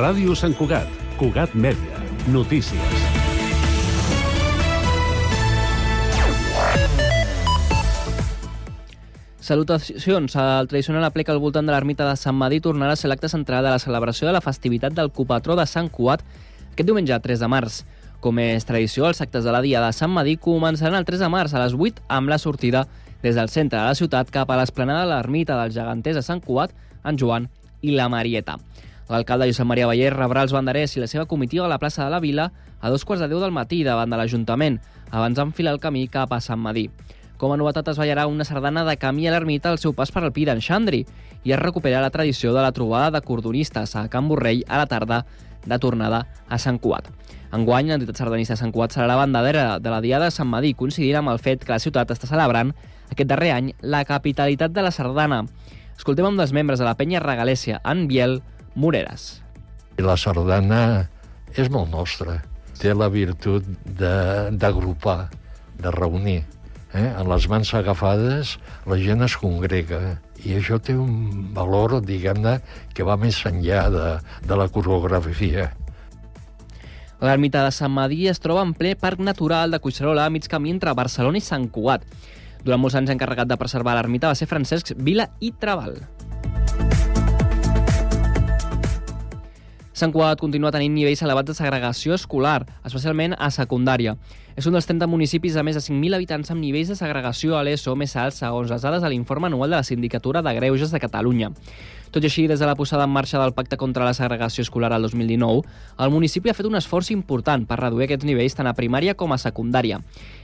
Ràdio Sant Cugat, Cugat Mèdia, notícies. Salutacions. El tradicional aplec al voltant de l'ermita de Sant Madí tornarà a ser l'acte central de la celebració de la festivitat del copatró de Sant Cuat aquest diumenge 3 de març. Com és tradició, els actes de la Dia de Sant Madí començaran el 3 de març a les 8 amb la sortida des del centre de la ciutat cap a l'esplanada de l'ermita dels geganters de Sant Cuat, en Joan i la Marieta. L'alcalde Josep Maria Baller rebrà els banderers i la seva comitiva a la plaça de la Vila a dos quarts de deu del matí davant de l'Ajuntament, abans d'enfilar el camí cap a Sant Madí. Com a novetat es ballarà una sardana de camí a l'ermita al seu pas per al Pi d'en Xandri i es recuperarà la tradició de la trobada de cordonistes a Can Borrell a la tarda de tornada a Sant Cuat. Enguany, l'entitat sardanista de Sant Cuat serà la bandadera de la Diada de Sant Madí, coincidint amb el fet que la ciutat està celebrant aquest darrer any la capitalitat de la sardana. Escoltem un dels membres de la penya regalèsia, en Biel Moreres. I la sardana és molt nostra. Té la virtut de- d'agrupar, de, de reunir. Eh? En les mans agafades la gent es congrega i això té un valor, diguem-ne, que va més enllà de, de la coreografia. L'ermita de Sant Madí es troba en ple parc natural de Cuixerola, a mig camí entre Barcelona i Sant Cugat. Durant molts anys encarregat de preservar l'ermita va ser Francesc Vila i Trabal. Sant Cugat continua tenint nivells elevats de segregació escolar, especialment a secundària. És un dels 30 municipis de més de 5.000 habitants amb nivells de segregació a l'ESO més alts segons les dades de l'informe anual de la Sindicatura de Greuges de Catalunya. Tot i així, des de la posada en marxa del Pacte contra la Segregació Escolar al 2019, el municipi ha fet un esforç important per reduir aquests nivells tant a primària com a secundària.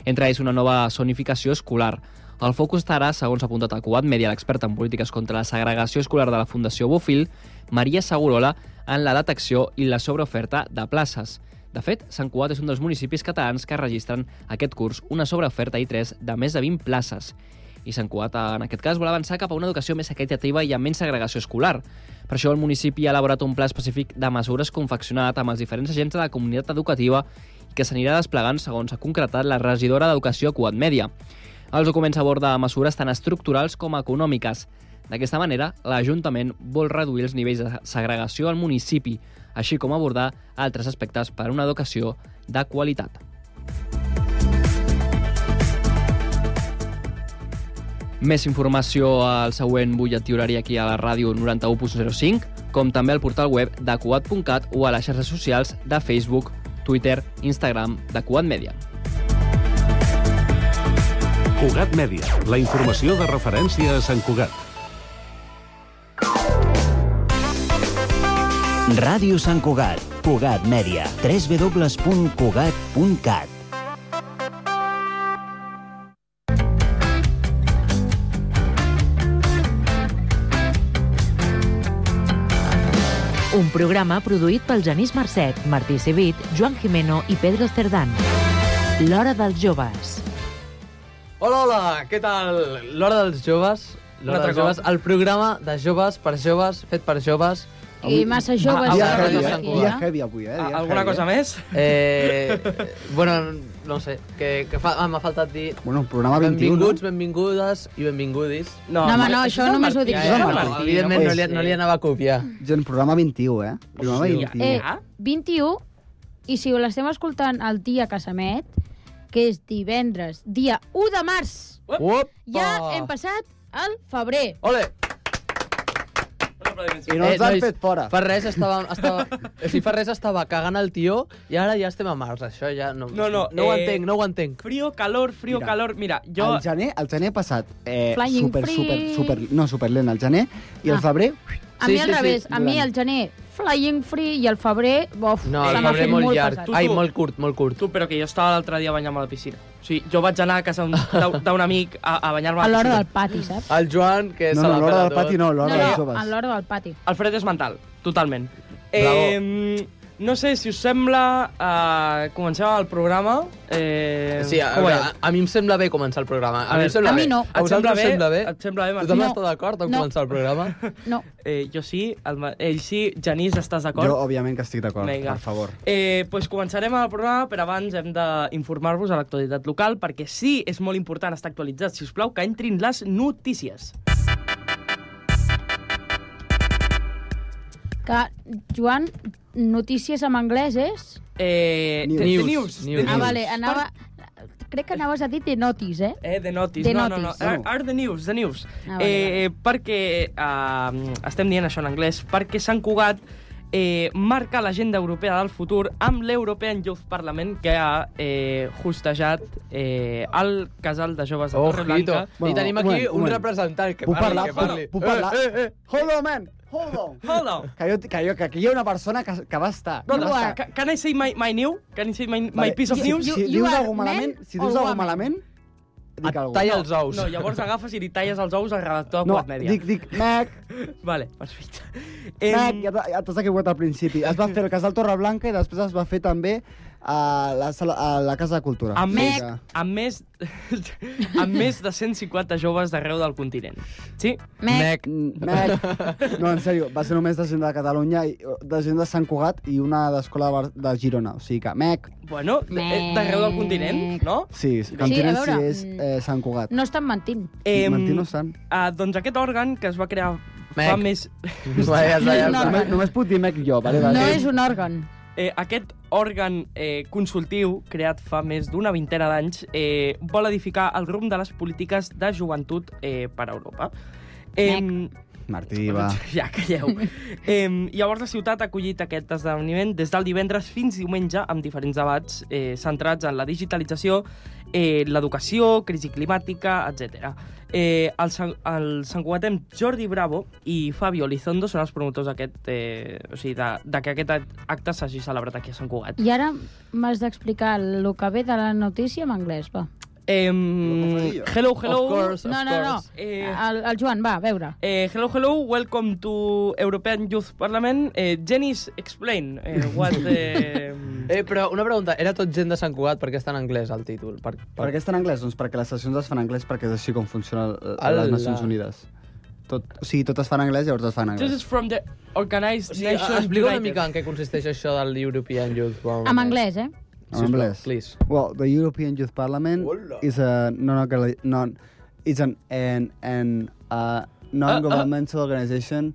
Entre ells, una nova zonificació escolar. El focus estarà, segons ha apuntat a Cuat Media, l'experta en polítiques contra la segregació escolar de la Fundació Bofil, Maria Segurola, en la detecció i la sobreoferta de places. De fet, Sant Cugat és un dels municipis catalans que registren aquest curs una sobreoferta i 3 de més de 20 places i Sant Cugat, en aquest cas, vol avançar cap a una educació més equitativa i amb menys segregació escolar. Per això el municipi ha elaborat un pla específic de mesures confeccionat amb els diferents agents de la comunitat educativa i que s'anirà desplegant segons ha concretat la regidora d'Educació Cugat Mèdia. Els documents aborda mesures tant estructurals com econòmiques. D'aquesta manera, l'Ajuntament vol reduir els nivells de segregació al municipi, així com abordar altres aspectes per a una educació de qualitat. Més informació al següent butlletí horari aquí a la ràdio 91.05, com també al portal web de Cuat.cat o a les xarxes socials de Facebook, Twitter, Instagram de Cuat Media. Cugat Mèdia, la informació de referència a Sant Cugat. Ràdio Sant Cugat, Cugat Mèdia, www.cugat.cat. Un programa produït pel Genís Marcet, Martí Civit, Joan Jimeno i Pedro Cerdán. L'hora dels joves. Hola, hola, què tal? L'hora dels joves, l'hora dels joves, el programa de joves per joves, fet per joves. I massa joves. Ah, Dia ah, heavy, no eh? s'han Dia colat. heavy avui, eh? Dia Alguna heavy, cosa eh? més? Eh, bueno, no sé, que, que fa, ah, m'ha faltat dir Bueno, programa 21. benvinguts, benvingudes i benvingudis. No, home, no, això és el només ho Martí, dic eh? jo. És el Martí, Evidentment no li, no li anava a copiar. no? Gent, programa 21, eh? Programa Hòstia. 21. Eh, Ja? 21, i si l'estem escoltant el dia que s'emet, que és divendres, dia 1 de març, Opa! ja Oh. hem passat al febrer. Ole! Eh, I no ens han nois, fet fora. Fa res estava, estava, o sigui, fa res estava cagant el tió i ara ja estem a març, això ja no... No, no, no ho eh, entenc, no ho entenc. Frío, calor, frío, Mira. calor. Mira, Jo... jo... El gener, el gener passat, eh, Flying super, free. super, super, no, super lent el gener, i el Ah. febrer, A Sí, mi al sí, sí, revés, a mi durant. el gener flying free i el febrer, bof, No, se el m'ha febrer fet molt, molt llarg. pesat. Tu, Ai, tu. molt curt, molt curt. Tu, però que jo estava l'altre dia banyant-me a la piscina. O sigui, jo vaig anar a casa d'un- d'un d'un amic a, a banyar-me a A la l'hora piscina. del pati, saps? El Joan, que no, se no, la l'hora pela del tot. pati no, l'hora no, dels no, joves. a l'hora del pati. El fred és mental, totalment. Bravo. Eh, no sé, si us sembla, eh, comencem el programa. Eh, Sí, a, com ho veure, veiem? a, a mi em sembla bé començar el programa. A, A mi veure. em sembla A mi bé. no. A Et sembla vosaltres bé? us sembla bé? Et sembla bé, Martí? Tothom No. està d'acord en No. començar el programa? No, Eh, jo sí, el, Ma- ell sí, Genís, estàs d'acord? Jo, òbviament, que estic d'acord, Vinga. per favor. Eh, pues començarem el programa, però abans hem d'informar-vos a l'actualitat local, perquè sí, és molt important estar actualitzat. Si us plau, que entrin les notícies. que, Joan, notícies en anglès és... Eh, News. The News. News. News. Ah, vale, anava... Crec que anaves a dir de notis, eh? Eh, the Notice. The no, no, Notice. no. Are, are the News, the News. Ah, vale, eh, perquè, eh, estem dient això en anglès, perquè Sant Cugat eh, marca l'agenda europea del futur amb l'European Youth Parliament que ha eh, justejat eh, el casal de joves de Torreblanca. Ojito. I Bueno, tenim un aquí moment, un un moment. representant que Puc parli, parlar? que parli. Puc parlar? Eh, eh, eh. Hold on, man! Hold on! Hold on. Que, jo, que, jo, que aquí hi ha una persona que, que va estar. No, que no, va estar. "Ah, ca- can I say my, my new? Can I say my, my Vale, piece of si, news? Si, You- you dius are alguna malament, man si or dius alguna woman? malament, dic Et alguna talla els ous. No, llavors agafes i li talles els ous al redactor de No, Quart Media. dic, dic, Mac, Vale, perfecte. Mac, Em, ja t'ha- ja t'has equivocat al principi. Es va fer el Casal Torreblanca i després es va fer també a la, sala, a la Casa de Cultura. Amb més, Vinga. amb, més, amb més de 150 joves d'arreu del continent. Sí? Mec. Mm, Mac. No, en sèrio, va ser només de gent de Catalunya, i, de gent de Sant Cugat i una d'escola de, Bar- de Girona. O sigui que, Mac, Bueno, eh, d'arreu del continent, no? sí, sí, a sí, veure, si és mm. eh, Sant Cugat. No estan mentint. Em, Mentir no sant. ah, doncs aquest òrgan que es va crear fa Mec. més... Va, ja està, ja No, està. Només, només puc dir Mac jo, vale? vale. No és un òrgan. Eh, aquest òrgan eh, consultiu, creat fa més d'una vintena d'anys, eh, vol edificar el rumb de les polítiques de joventut eh, per a Europa. Em, Martí, va. Ja, calleu. eh, llavors, la ciutat ha acollit aquest esdeveniment des del divendres fins diumenge amb diferents debats eh, centrats en la digitalització, eh, l'educació, crisi climàtica, etc. Eh, el, san- el santcugatem Jordi Bravo i Fabio Lizondo són els promotors d'aquest, eh, o sigui, de, de que aquest acte s'hagi celebrat aquí a Sant Cugat. I ara m'has d'explicar el que ve de la notícia en anglès, va. Eh, Locofagia. hello, hello. Of course, of No, no, no. course. Eh, El, el Joan, va, a veure. Eh, hello, hello. Welcome to European Youth Parliament. Eh, Jenny's explain eh, what. Eh, Eh, però una pregunta, era tot gent de Sant Cugat, per què està en anglès el títol? Per, Per què està en anglès? Doncs perquè les sessions es fan en anglès perquè és així com funciona el- el- les Ala. Nacions Unides. Tot, o sigui, tot es fa en anglès, llavors es fa en this anglès. is from the organized Sí, Nations explica una United. mica en què consisteix això del European Youth Parliament. En anglès, eh? En anglès. Please. Well, the European Youth Parliament Hola. is a non non is an an, an uh, non-governmental organization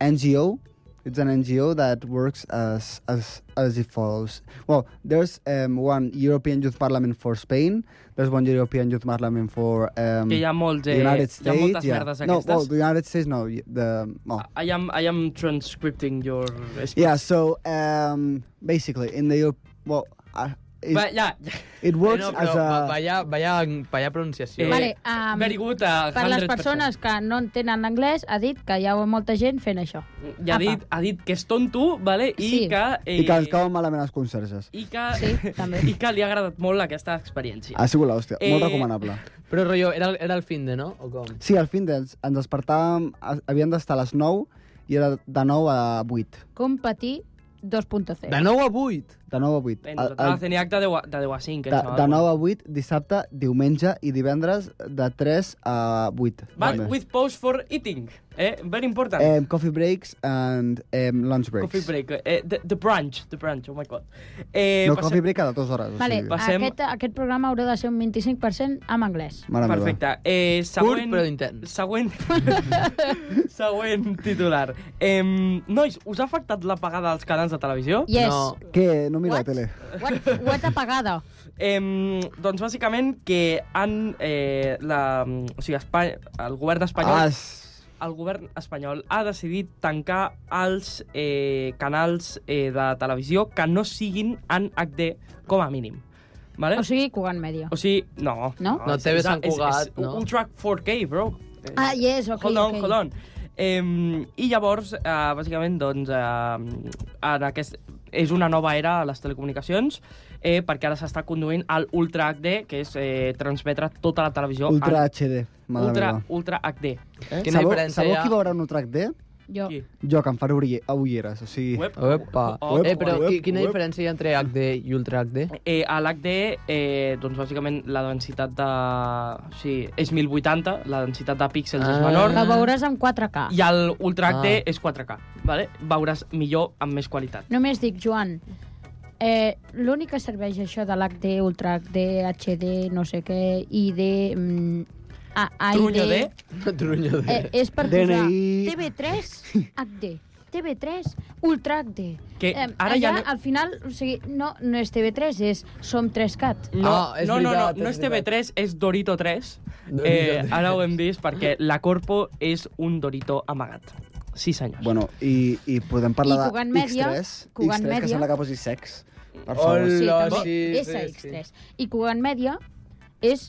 NGO. It's an NGO that works as as as it follows. Well, there's um, one European Youth Parliament for Spain. There's one European Youth Parliament for um, Que hi ha molts, the eh, United hi ha States. moltes yeah. merdes No, aquestes. well, the United States. No, y- the well, I am I am transcripting your speech. yeah. So um, basically, in the Europe, well, uh, it's- But yeah, it works Eh, no, as però a. va- vaya, vaya, vaya pronunciació. Eh, Vale, um, very good. Uh, per les 100%. persones que no entenen anglès, ha dit que hi ha molta gent fent això. I ha Apa. dit, ha dit que és tonto, vale? I Sí. que... Eh, I que els cauen malament els conserges. i que, Sí, també. I que li ha agradat molt aquesta experiència. Ha sigut l'hòstia, Eh, molt recomanable. Però, rotllo, era, el- era el fin de, no? O com? Sí, al fin ens, ens despertàvem, a- havíem d'estar a les 9 i era de 9 a 8. Competir 2.0. De 9 a 8. De 9 a 8. En El- total el- tenia doncs, acte de, de eh, 10 a 5. de, de 9 a 8, dissabte, diumenge i divendres de 3 a 8. But També. with pause for eating. Eh? Very important. Em, coffee breaks and em, lunch breaks. Coffee break. Eh, the, the brunch, the brunch, oh my god. Eh, no, passem- coffee break cada dues hores. o Vale, sigui, Passem- aquest, aquest programa haurà de ser un 25% en anglès. Mare meva. Perfecte. Eh, següent, Curt, però intens. següent, següent titular. Eh, nois, us ha afectat l'apagada dels canals de televisió? Yes. No. Què? No mira What? la tele. What, what apagada. Eh, doncs bàsicament que han... Eh, la, o sigui, Espa- el govern Ah, espanyol... és- El govern espanyol ha decidit tancar els eh, canals eh, de televisió que no siguin en HD com a mínim. Vale? O sigui, Cugat Media. O sigui, no. No? No, TV Sant és- és- Cugat, és no. Ultra 4K, bro. Eh, Ah, yes, ok, hold on, ok. hold on. Eh, I llavors, eh, bàsicament, doncs, eh, en aquest, és una nova era a les telecomunicacions, eh, perquè ara s'està conduint al Ultra HD, que és eh, transmetre tota la televisió Ultra en HD. Mare ultra, Eh? meva. ultra HD. Quina sabeu, diferència sabeu hi ha? qui veurà un Ultra HD? Jo. Qui? Jo, que em faré urie- a ulleres, o sigui... Web? Opa. Oh, eh, però uep, qui- quina uep. diferència hi ha entre HD i Ultra HD? Eh, a l'HD, eh, doncs, bàsicament, la densitat de... O sigui, és 1080, la densitat de píxels Ah. és menor. Que veuràs en 4K. I el Ultra HD Ah. és 4K, vale? veuràs millor amb més qualitat. Només dic, Joan, eh, l'únic que serveix això de l'HD, Ultra HD, HD, no sé què, ID... Mm, a, AID, Trunyo D? Trunyo de... Eh, és per DNI. posar TV3 HD. TV3, Ultracte. Que Eh, ara allà, ja no- al final, o sigui, no, no és TV3, és Som 3Cat. No, Ah, és no, no, no, veritat, no és és TV3, és Dorito 3. Eh, ara ho hem vist perquè la Corpo és un Dorito amagat. Sí, senyors. Bueno, i, i podem parlar I Cugat de Mèdia, X3, Cugat X3 que Mèdia. sembla que posi sex. Per favor. sí, Hola, també, sí, és sí, a sí. X3. I Cugat Mèdia és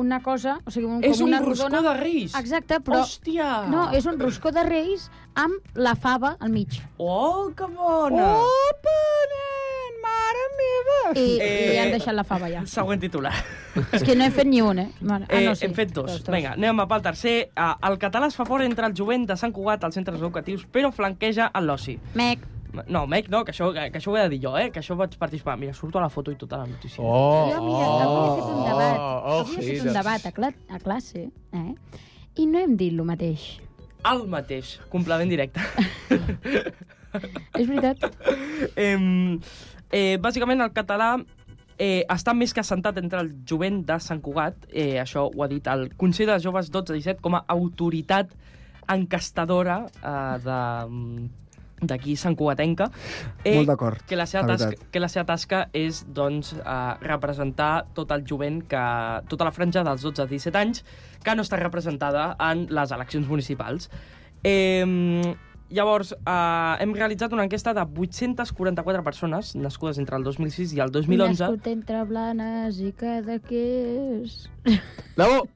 una cosa, o sigui, un, és com un una roscó rodona... de reis! Exacte, però... Hòstia! No, és un roscó de reis amb la fava al mig. Oh, que bona! Opa, nen, mare meva! I, eh... Eh. i han deixat la fava ja. Següent titular. És que no he fet ni un, eh? Mare, Eh, ah, no, sí. Hem fet dos. Vinga, anem a pel tercer. Ah, El català es fa fort entre el jovent de Sant Cugat als centres educatius, però flanqueja en l'oci. Mec, No, Mec, no, que això, que, això ho he de dir jo, eh? que això vaig participar. Mira, surto a la foto i tota la notícia. oh, Oh, jo avui, oh, avui he fet un debat, Oh, oh, avui he fet Jesus. un debat a, cla a classe, eh? I no hem dit el mateix. El mateix, complement directe. És veritat? eh, eh, bàsicament, el català eh, està més que assentat entre el jovent de Sant Cugat, eh, això ho ha dit el Consell de Joves 12-17 com a autoritat encastadora eh, de mm, d'aquí, Sant Cugatenca, Eh, Molt d'acord, que, la seva la tasca, veritat. que la seva tasca és doncs, eh, representar tot el jovent, que, tota la franja dels 12 a 17 anys, que no està representada en les eleccions municipals. Eh, llavors, eh, hem realitzat una enquesta de 844 persones nascudes entre el 2006 i el 2011. Nascut entre Blanes i Cadaqués. Bravo!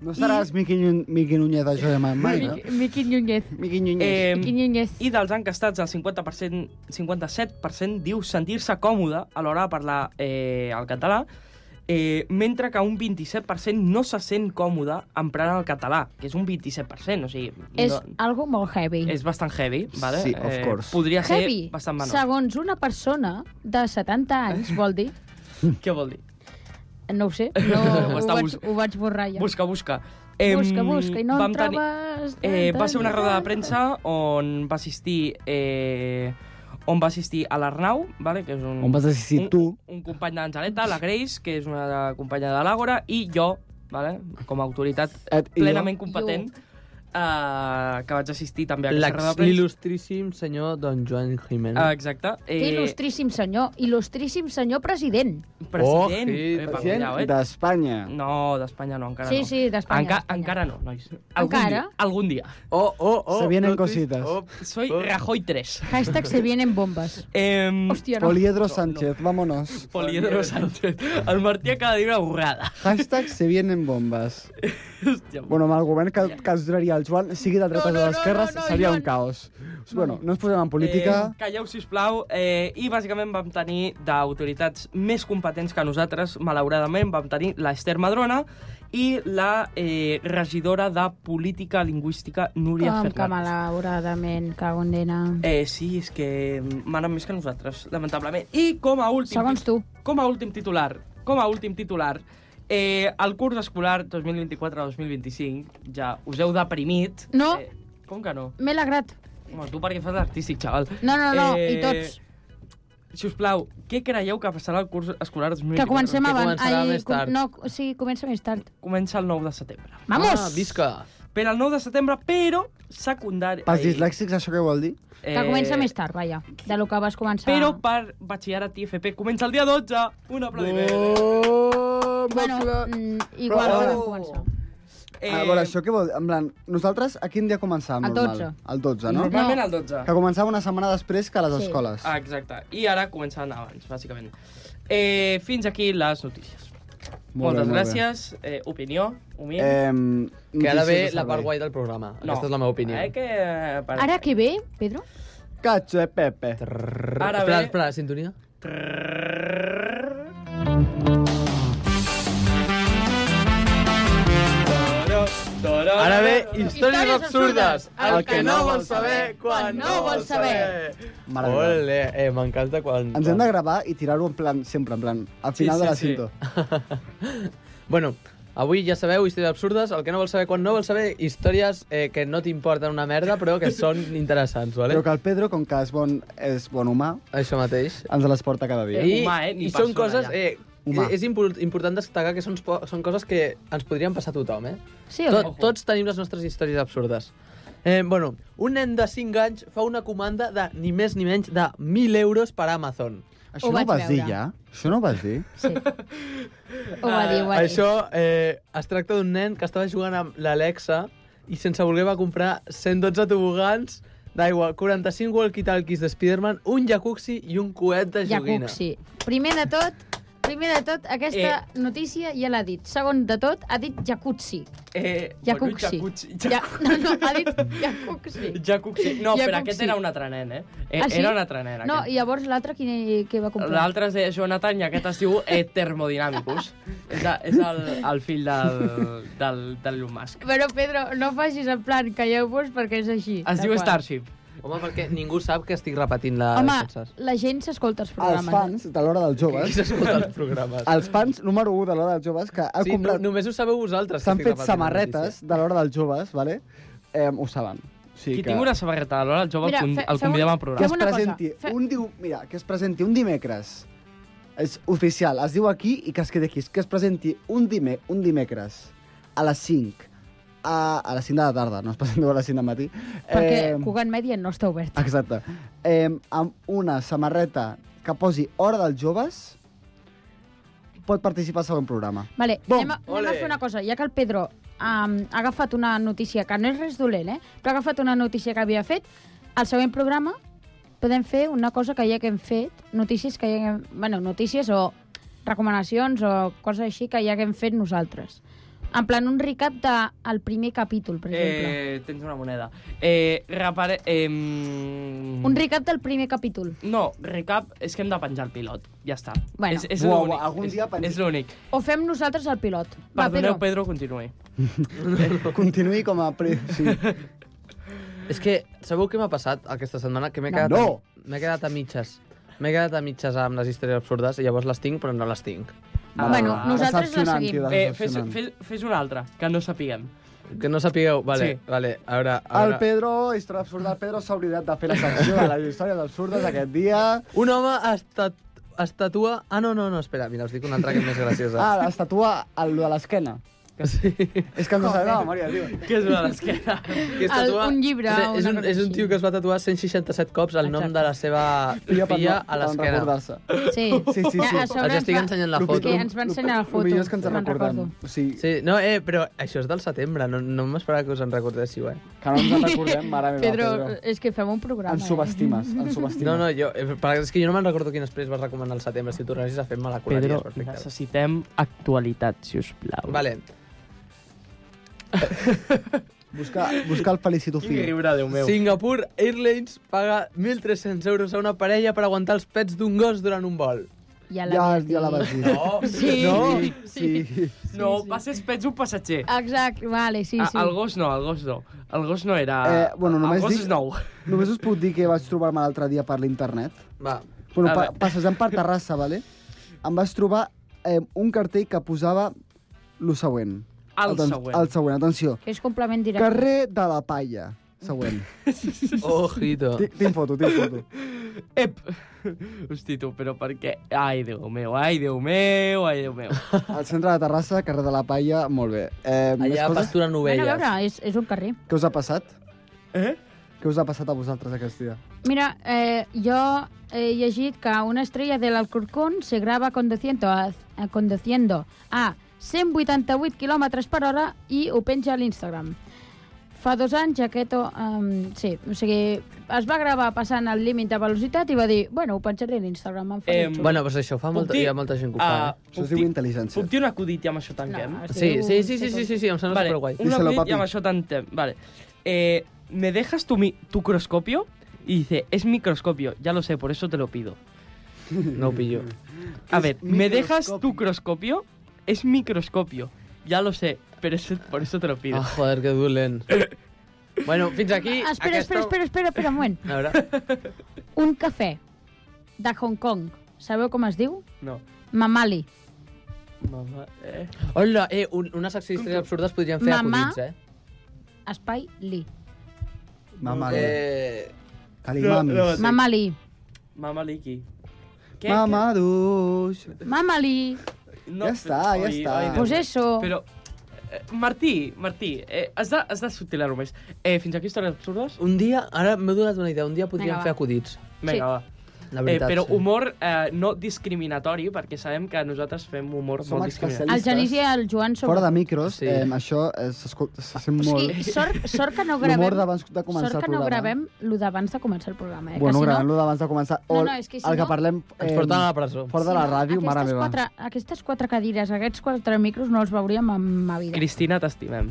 No seràs Miqui, Nyu- Miqui Núñez de Joia Man mai, no? Miqui Núñez. Miqui Núñez. Eh, Miqui Núñez. I dels encastats, el 50%, 57% diu sentir-se còmode a l'hora de parlar eh, el català, eh, mentre que un 27% no se sent còmode emprant el català, que és un 27%, o sigui... És no, algo molt heavy. és bastant heavy, vale? Eh, Sí, of course. podria heavy, ser bastant Eh? menor. segons una persona de 70 anys, vol dir. Què vol dir? No ho sé, no, Ho ho, està vaig, bus- ho vaig borrar ja. Busca, busca. Em, busca, busca, i no vam en tenir- trobes... Eh, va ser una roda de premsa on va assistir... Eh, on va assistir a l'Arnau, vale? que és un, On vas assistir un, tu? un company d'Angeleta, la Grace, que és una companya de l'Àgora, i jo, vale? com a autoritat Et i jo. plenament competent, eh, que vaig assistir també a aquesta roda de premsa. L'il·lustríssim senyor Don Joan Jiménez. Ah, exacte. Eh, Il·lustríssim senyor, il·lustríssim senyor president. President. Oh, sí, eh, pa, Gent cuidao, eh? d'Espanya. No, d'Espanya no, encara sí, no. sí, d'Espanya. Enca d'Espanya. Encara no, nois. Algun Encara? Dia, algun dia. Oh, oh, oh. Se vienen notis- cositas. Oh, Soy Oh. Rajoy 3. Hashtag se vienen bombes. Eh, Hòstia, no. Poliedro Sánchez, vámonos. Poliedro Sánchez. El Martí acaba de dir una borrada. Hashtag se vienen bombes. Hòstia, Bueno, amb el govern que, que ens donaria el Joan, sigui de dretes No, no, o no, d'esquerres, no, no, seria un Joan. caos. Bueno, no ens posem en política. Eh, calleu, sisplau. Eh, I bàsicament vam tenir d'autoritats més competents que nosaltres, malauradament, vam tenir l'Ester Madrona i la eh, regidora de Política Lingüística, Núria Com que Fernández. malauradament, cago en dena. Eh, sí, és que manen més que nosaltres, lamentablement. I com a últim... Segons tu. Com a últim titular, com a últim titular, eh, el curs escolar 2024-2025, ja us heu deprimit. No. Eh, com que no? M'he alegrat. Home, tu perquè fas l'artístic, xaval. No, no, no, i Eh, tots. Si us plau, què creieu que passarà el curs escolar 2024? Que comencem que abans. començarà més com- tard. No, sí, comença més tard. Comença el 9 de setembre. Vamos! Ah, visca! Per al 9 de setembre, però Eh, secundari... Pels ai, dislèxics, això què vol dir? eh, Que comença més tard, vaja, de lo que vas començar. Però per batxillerat i FP comença el dia 12. Un aplaudiment. Oh. Bueno, mm, igual Però- oh. no vam començar. Eh... A veure, això què vol dir? En plan, nosaltres a quin dia començàvem? El normal? 12. El 12, no? Normalment No. el 12. Que començava una setmana després que a les Sí. escoles. Ah, exacte. I ara començaven abans, bàsicament. Eh, fins aquí les notícies. Molt bé, Moltes molt bé. gràcies. Eh, opinió, humil. Eh, Que ara ve la part guai del programa. No. Aquesta és la meva opinió. Eh, que... Per... Ara que ve, Pedro? Cacho, eh, Pepe. Ara espera, ve- espera, sintonia. Ara ve històries absurdes, el que no vols saber quan no vols saber. Maravilloso. Ole, eh, m'encanta quan... Ens hem de gravar i tirar-ho en plan, sempre, en plan, al final sí, de la sí. cinta. Bueno, avui ja sabeu, històries absurdes, el que no vols saber quan no vols saber, històries eh, que no t'importen una merda, però que són interessants, vale? Però que el Pedro, com que és bon, és bon humà, Això mateix. ens les porta cada dia. Eh, humà, eh, ni I són persona, coses... ja. Eh, Humà. és impor- important destacar que són, po- són coses que ens podrien passar a tothom, eh? Sí o no? Tot, tots tenim les nostres històries absurdes. Eh, bueno, un nen de 5 anys fa una comanda de ni més ni menys de 1.000 euros per Amazon. Això Ho no vaig ho vas dir veure. ja? Això no ho vas dir? Sí. Ho va dir, ho va dir. Això eh, es tracta d'un nen que estava jugant amb l'Alexa i sense voler va comprar 112 tobogans d'aigua, 45 walkie-talkies de Spider-Man, un jacuzzi i un coet de joguina. Jacuzzi. Primer de tot, primer de tot, aquesta eh. notícia ja l'ha dit. Segon de tot, ha dit jacuzzi. Eh, Jacuzzi. Bueno, jacuzzi. Ja, no, no, ha dit jacuzzi. Jacuzzi. No, Jacuzzi. però aquest era un altre nen, eh? eh Ah, sí? Era un altre nen, No, aquest. i llavors l'altre quin que va comprar? L'altre es deia Jonathan i aquest es diu eh, Thermodynamicus. és a, és el, el fill del, del, del Elon Musk. Però, Pedro, no facis en plan, calleu-vos perquè és així. Es Tal diu qual. Starship. Home, perquè ningú sap que estic repetint la... Home, la gent s'escolta els Els programes. fans de l'hora dels Qui joves, s'escolta els programes? els fans número 1 de l'hora dels joves que han Sí, no, comprat... només ho sabeu vosaltres. que S'han estic fet repetint la samarretes de l'hora dels joves, vale? Eh, ho saben. O sigui Qui tingui una samarreta de l'hora, el jove Mira, Mira, fe- el fem convidem un- al que programa. es Fem una cosa, presenti fe- un diu, mira, que es presenti un dimecres. És oficial, es diu aquí i que es quedi aquí. Que es presenti un, dime, un dimecres a les 5. A, a les 5 de la tarda, no es presenti a les 5 del matí. Perquè Em, Cugat Media no està obert. Exacte. Eh, amb una samarreta que posi Hora dels Joves, pot participar al següent programa. Vale, Bom. anem a, anem a Ole. fer una cosa. Ja que el Pedro um, ha agafat una notícia, que no és res dolent, eh? però ha agafat una notícia que havia fet, al següent programa podem fer una cosa que ja que hem fet, notícies que ja hem... Bueno, notícies o recomanacions o coses així que ja que hem fet nosaltres. En plan, un recap del el primer capítol, per exemple. Eh... Eh, tens una moneda. Eh, repare... Eh, un Un recap del primer capítol. No, recap, és que hem de penjar el pilot. Ja està. Bueno. és, és Uau, l'únic. algun És- dia penja- És l'únic. O fem nosaltres el pilot. Va, Perdoneu, Pedro. Pedro, continuï. Eh, Continuï com a... Pre... Sí. notícia. És que sabeu què m'ha passat aquesta setmana? Que m'he quedat, No. m'he quedat a mitges. M'he quedat a mitges amb les històries absurdes i llavors les tinc, però no les tinc. Bueno, Ah, nosaltres la Decepcionant, seguim. tio, Eh, fes, decepcionant. fes, fes una altra, que no sapiguem. Que no sapigueu. Vale, Sí. sí. vale. A veure, a El veure. Pedro, història absurda, el Pedro s'ha oblidat de fer la secció de les històries absurdes aquest dia. Un home estat, estatua... Ah, no, no, no, espera. Mira, us dic una altra que és més graciosa. Ah, l'estatua, el de l'esquena. sí. És que no sabem la memòria, tio. Què és una d'esquena? Que es El- tatua- un llibre És, o és, una un, cosa és un així. tio que es va tatuar 167 cops el nom Exacte. de la seva filla, a l'esquena. recordar-se. Sí, Sí, sí, sí. a sobre Els ens estic va- ensenyant la Lo És foto. que ens va ensenyar la foto. El millor és que ens en me'n recordem. recordo. O sigui, sí. Sí, no, eh, però això és del setembre, no, no m'esperava que us en recordéssiu, eh? que no ens en recordem, mare meva, Pedro, eh, Pedro. és que fem un programa. eh? Ens subestimes, ens subestimes. No, no, jo, eh, per- és que jo no me'n recordo quin després vas recomanar el setembre, si tu tornessis a fer-me la curaria, Pedro, és perfecte. necessitem actualitat, si us plau. Vale, Busca, busca el felicito Quin fill. riure, Déu meu. Singapore Airlines paga 1.300 euros a una parella per aguantar els pets d'un gos durant un vol. Ja la, Ja, ja la vaig dir. No, Sí. No? Sí. Sí. No, passes pets un passatger. Ah, Exacte, vale, sí, Ah, sí. El gos no, el gos no. El gos no era... Eh, bueno, Ah, només el gos dic- és nou. Només us puc dir que vaig trobar-me l'altre dia per l'internet. va. Bueno, A pa veure. passejant per Terrassa, vale? em vaig trobar eh, un cartell que posava lo següent. El Aten- següent. El següent, atenció. Que és complement directe. Carrer de la Palla. Següent. Ojito. Tinc tinc foto, tinc foto. Ep! Hosti, tu, però per què? Ai, Déu meu, ai, Déu meu, ai, Déu meu. Al centre de Terrassa, carrer de la Palla, molt bé. Eh, més Allà coses? pasturen Bueno, a ovelles. veure, és, és un carrer. Què us ha passat? Eh? Què us ha passat a vosaltres aquest dia? Mira, eh, jo he llegit que una estrella del Alcorcón se grava conduciendo a, a, conduciendo a 188 km per hora i ho penja a l'Instagram. Fa dos anys aquest... Um, sí, o sigui, es va gravar passant el límit de velocitat i va dir, bueno, ho penjaré a l'Instagram, em faré Em, eh, xulo. Bueno, doncs això fa molta, dir- hi ha molta gent que ho fa, Ah, eh? Això puc es diu dir- intel·ligència. Puc dir un acudit i amb això tanquem? No, Sí, sí, sí, sí, Sí, sí, sí, sí, sí, em sembla vale, superguai. un Díselo, acudit papi. y amb això tanquem. Vale. Eh, ¿Me dejas tu, mi- tu croscopio? Y dice, es microscopio, ya lo sé, por eso te lo pido. No ho pillo. A Es ver, ¿me dejas microscopio. tu croscopio? Es microscopio, ya lo sé, pero eso- por eso te lo pido. Ah, joder, que dolent. bueno, fins aquí. Ah, espera, espera, espera, espera, espera, un moment. A veure, Un cafè de Hong Kong. Sabeu com es diu? No. Mamali. Mamá, eh. hola, eh, un, una secció d'històries absurdes podríem fer Mamà. acudits, eh? Espai Li. Mama, Eh, Calimamis. No, no. Mamali. Mamá Liki. ¿Qué? Mama duix. Mamali. No, Ya está, ya está. Dios Pues mío. eso. Pero, Eh, Martí, Martí, eh, has de, has de sortir-la-ho més. Eh, fins aquí històries absurdes? Un dia, ara m'he donat una idea, un dia podríem Vinga, va. fer acudits. Sí. Vinga, sí. La va. Eh, veritat, però sí. humor eh, no discriminatori, perquè sabem que nosaltres fem humor Som molt discriminatori. El Genís i el Joan són... Fora de micros, Sí. sí. eh, això eh, s'escol- se sent O molt... sigui, sort, sort que no L'humor gravem... d'abans de començar sort el que no programa. eh? gravem lo d'abans de començar el programa, eh? Bueno, que si gravem-lo no, d'abans de començar. No, O no, és que si el no- que parlem... Ens eh, porten a la presó. Fora de la ràdio, mare aquestes meva. quatre, aquestes quatre cadires, aquests quatre micros no els veuríem en ma vida. Cristina, t'estimem.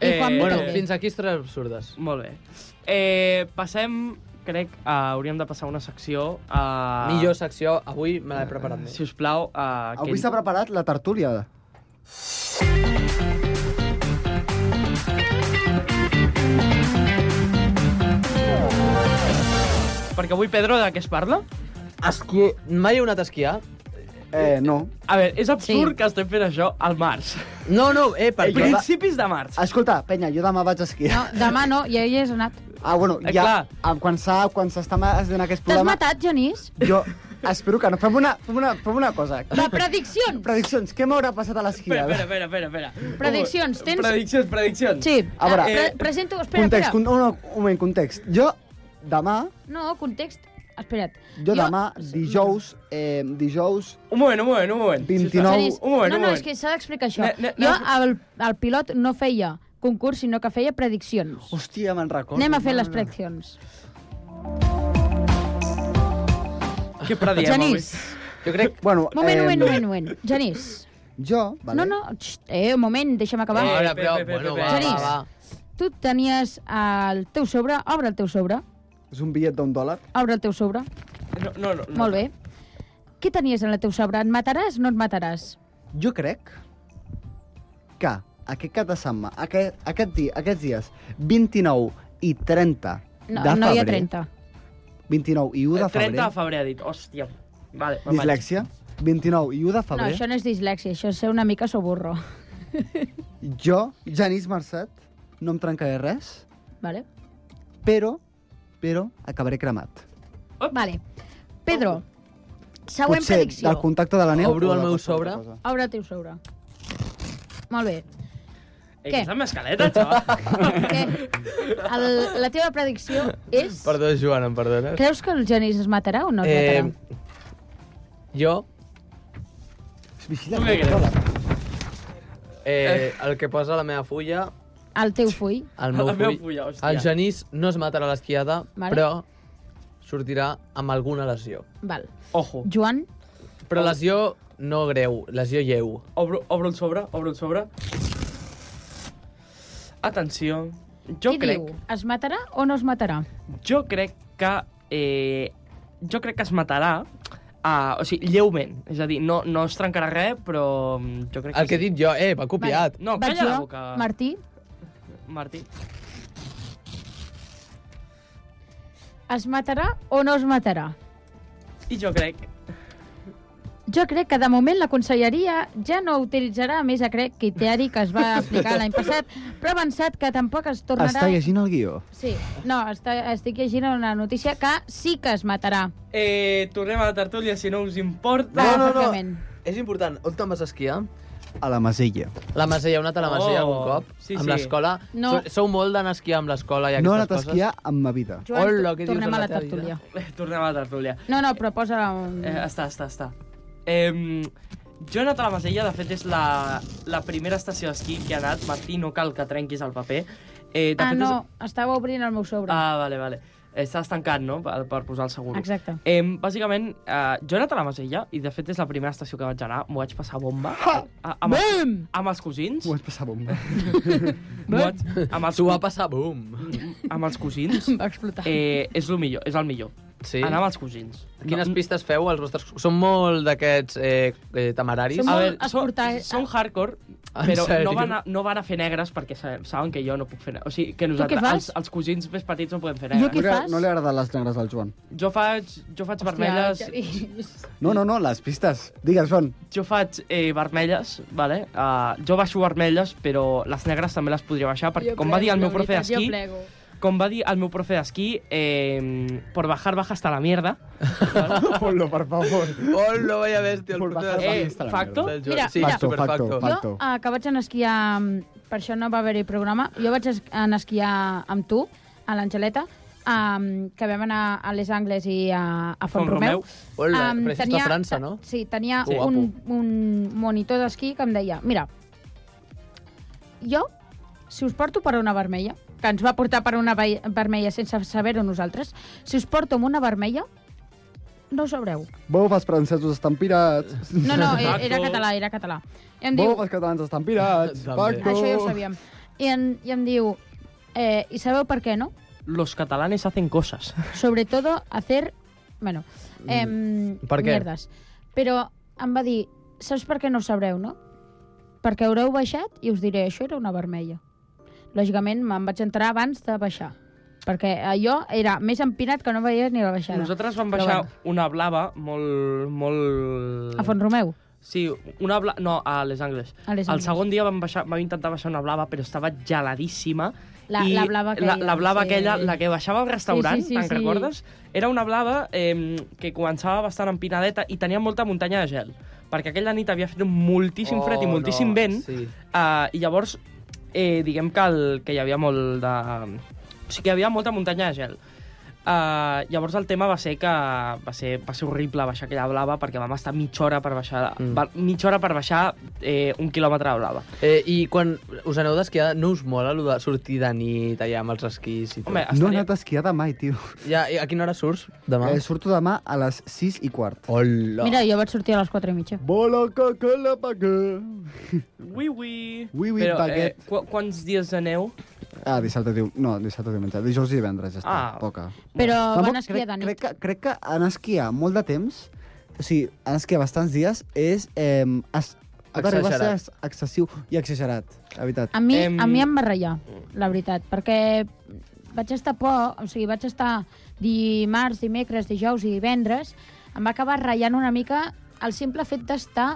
Eh, I Juan eh, Bueno, també. fins aquí històries absurdes. Molt bé. Eh, passem, crec, a, hauríem de passar una secció a... Millor secció, avui me l'he preparat Si més. us plau, a... Avui s'ha preparat la tertúlia. Perquè avui, Pedro, de què es parla? Esqui... Mai he anat a esquiar? Eh, no. A veure, és absurd Sí. sí. que estem fent això al març. No, no, eh, per A què? principis de març. Escolta, penya, jo demà vaig a No, esquiar. demà no, ja hi has anat. Ah, bueno, Eh, ja... clar. eh, Quan s'ha- quan s'està fent aquest T'has programa... matat, Genís? Jo espero que no. Fem una, fem una, fem una cosa. La predicció! Prediccions, què m'haurà passat a Espera, l'esquiada? espera, espera, espera, espera. Prediccions, tens- Prediccions, prediccions. Sí, A veure, eh, eh, pre presento... Espera, Context, espera. con, un, un moment, context. Jo demà, No, context... Espera't. jo, demà, dijous, eh, dijous, Un moment, un moment, un moment. 29. Genís, Un moment, no, un no, moment. és que s'ha d'explicar això. Ne- ne- jo ne- al, al pilot no feia concurs, sinó que feia prediccions. hòstia, me'n recordo. Anem a fer les prediccions. Què prediem Genís, Jo crec... Bueno, moment, eh, moment, moment, moment. Genís, Jo, vale. no, no, xt, eh, un moment, deixa'm acabar. Eh, Ara, Pe, però, pe, pe, bueno, pe, va, pe. va, va. Tu tenies el teu sobre, obre el teu sobre, És un bitllet d'un dòlar. obre el teu sobre, avui? No, no, no. no. molt bé. Què tenies en el teu sobre? Et mataràs o no et mataràs? Jo crec que aquest cap de setmana, aquest, aquest dia, aquests dies, 29 i 30 No, de no hi ha febrer, 30. 29 i 1 de 30 febrer, de febrer ha dit, hòstia. Vale, me'n vaig. dislèxia, 29 i 1 de No, febrer, això no és dislèxia, això és ser una mica soburro. jo, Janís Mercet, no em trencaré res, Vale? però, però, acabaré cremat. Vale. Pedro, següent Potser predicció. del contacte de la neu... Obro o el de meu qualsevol sobre. altra cosa. Obre el teu sobre. Molt bé. Ei, Què? que és amb escaleta, xaval. Què? El, la teva predicció és... Perdó, Joan, em perdones? Creus que el Genís es matarà o no es Eh, matarà? Eh, jo, Vigila, Tu què creus? eh, el que posa la meva fulla, El teu full? el meu La meva full... fulla, hòstia. El Genís no es matarà a l'esquiada, Vale. però sortirà amb alguna lesió. Val. Ojo. Joan? Però lesió no greu, lesió lleu. Obro, obro el sobre, obro el sobre. Atenció. Jo Què crec, diu? Es matarà o no es matarà? jo crec que... Eh, jo crec que es matarà Uh, o sigui, lleument. És a dir, no, no es trencarà res, però mm, jo crec El que he sí. dit jo, eh, m'ha copiat. No, Vaig calla la jo, boca. Martí, Martí. es matarà o no es matarà? I jo crec... Jo crec que de moment la conselleria ja no utilitzarà més a crec criteri que es va aplicar l'any passat, però ha avançat que tampoc es tornarà... Està llegint el guió. Sí, no, està, estic llegint una notícia que sí que es matarà. Eh, tornem a la tertúlia, si no us importa. No, no, no. bàsicament. És important, on te'n vas a esquiar? A la Masella. La Masella, heu anat a la Masella Oh, algun cop? sí, amb sí. l'escola? No. Sou- Sou molt d'anar a esquiar amb l'escola i No he aquestes anat a coses? esquiar en ma vida. Joan, Hola, què dius tornem de a la la teva tertúlia. Eh, Tornem a la tertúlia. No, no, però posa... Un... Eh, està, està, està. Eh, jo he anat a la Masella, de fet és la, la primera estació d'esquí que he anat. Martí, no cal que trenquis el paper. Eh, de ah, fet, no, És... estava obrint el meu sobre. Ah, vale, vale. Estàs tancat, no?, per, per posar el seguro. Exacte. Eh, bàsicament, eh, jo he anat a la Masella i, de fet, és la primera estació que vaig anar. M'ho vaig passar bomba. A, amb, els, Bum! amb els cosins. Ho has passat bomba. M'ho vaig, amb, els, S'ho va cu- passar, boom. amb els cosins. Em va explotar. Eh, és el millor, és el millor. Sí? Anar amb els cosins. Quines pistes feu als vostres... Són molt d'aquests eh, eh, temeraris? Som A molt veure, són, esporta- són hardcore, En però sèrio? no van, a, no van a fer negres perquè sa- saben que jo no puc fer negres. O sigui, que què nosaltres, fas? els, els cosins més petits no podem fer Jo negres. què fas? No li agraden les negres al Joan. Jo faig, jo faig vermelles, No, no, no, les pistes. Digues, Joan. jo faig eh, vermelles, vale? Ah, Uh, jo baixo vermelles, però les negres també les podria baixar, perquè, com va dir el meu profe d'esquí, Com va dir el meu profe d'esquí, eh, por bajar baja hasta la mierda. Ponlo, por favor. Oh, no, vaya bèstia, el Por porter bajar Eh, de hasta la facto? mierda. del Joan. Mira, sí, mira. superfacto. Facto, facto. Jo, eh, que vaig anar a esquiar... amb- Per això no va haver-hi programa. Jo vaig es- anar a esquiar amb tu, a l'Angeleta, um, que vam anar a Les Angles i a, a Font Romeu. Hola, Em, però això és de França, no? Sí, tenia Sí. un, un monitor d'esquí que em deia, mira, jo, si us porto per una vermella, que ens va portar per una ve- vermella sense saber-ho nosaltres, si us porto amb una vermella, no us obreu. Bof, els francesos estan pirats. No, no, era, Taco. era català, era català. I em diu, Bof, els catalans estan pirats. També. Ah, Paco. això ja ho sabíem. I, en, i em diu, eh, i sabeu per què, no? Los catalanes hacen cosas. sobre todo hacer... Bueno, em, Mm. per què? merdes. Però em va dir, saps per què no ho sabreu, no? Perquè haureu baixat i us diré, això era una vermella. Lògicament, me'n vaig entrar abans de baixar. Perquè eh, jo era més empinat que no veia ni la baixada. Nosaltres vam Però baixar bueno. una blava molt... molt... A Font Romeu. Sí, una bla... No, a Les Angles. A Les El Angles. segon dia vam, baixar, vam intentar baixar una blava, però estava geladíssima. La- I la blava La, aquella, la blava sí. aquella, la que baixava al restaurant, Sí, sí, sí, te'n sí. recordes? Era una blava eh, que començava bastant empinadeta i tenia molta muntanya de gel. Perquè aquella nit havia fet moltíssim Oh, fred i moltíssim no, vent. sí. Uh, I llavors, eh, diguem que, el, que hi havia molt de... O sigui, que hi havia molta muntanya de gel. Uh, llavors el tema va ser que va ser, va ser horrible baixar aquella blava perquè vam estar mitja hora per baixar, Mm. mm. va, mitja hora per baixar eh, un quilòmetre de blava. Eh, I quan us aneu d'esquiar, no us mola allò de sortir de nit allà amb els esquís i tot? Home, No he estaria... anat a esquiar demà, tio. Ja, i a quina hora surts demà? Eh, surto demà a les 6 i quart. Hola. Mira, jo vaig sortir a les 4 i mitja. Bola caca la paga. Ui, ui. Ui, ui, Però, eh, paquet. qu quants dies aneu? Ah, dissabte, diu... No, dissabte, diumenge. Dijous i divendres, ja està. Ah. Poca. Però Tampoc van esquiar crec, de nit. Crec que, crec que anar a esquiar molt de temps, o sigui, anar a esquiar bastants dies, és... Eh, es, ha d'arribar a ser ex- excessiu i exagerat, la veritat. A mi, Em- a mi em va ratllar, la veritat, perquè vaig estar poc, o sigui, vaig estar dimarts, dimecres, dijous i divendres, em va acabar ratllant una mica el simple fet d'estar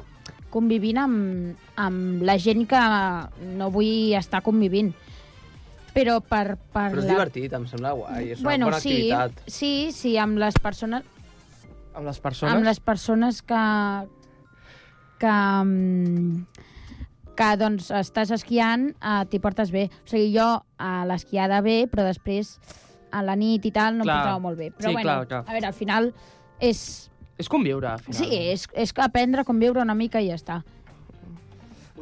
convivint amb, amb la gent que no vull estar convivint. Però per... per Però és divertit, em sembla guai. És una bueno, bona sí, activitat. sí, sí, amb les persones, Amb les persones? amb les persones que... que mm, que doncs estàs esquiant, eh, t'hi portes bé. O sigui, jo a l'esquiada bé, però després a la nit i tal no Clar. em portava molt bé. Però Sí, bueno, clar, clar. a veure, al final és... És conviure, al final. Sí, és, és aprendre a conviure una mica i ja està.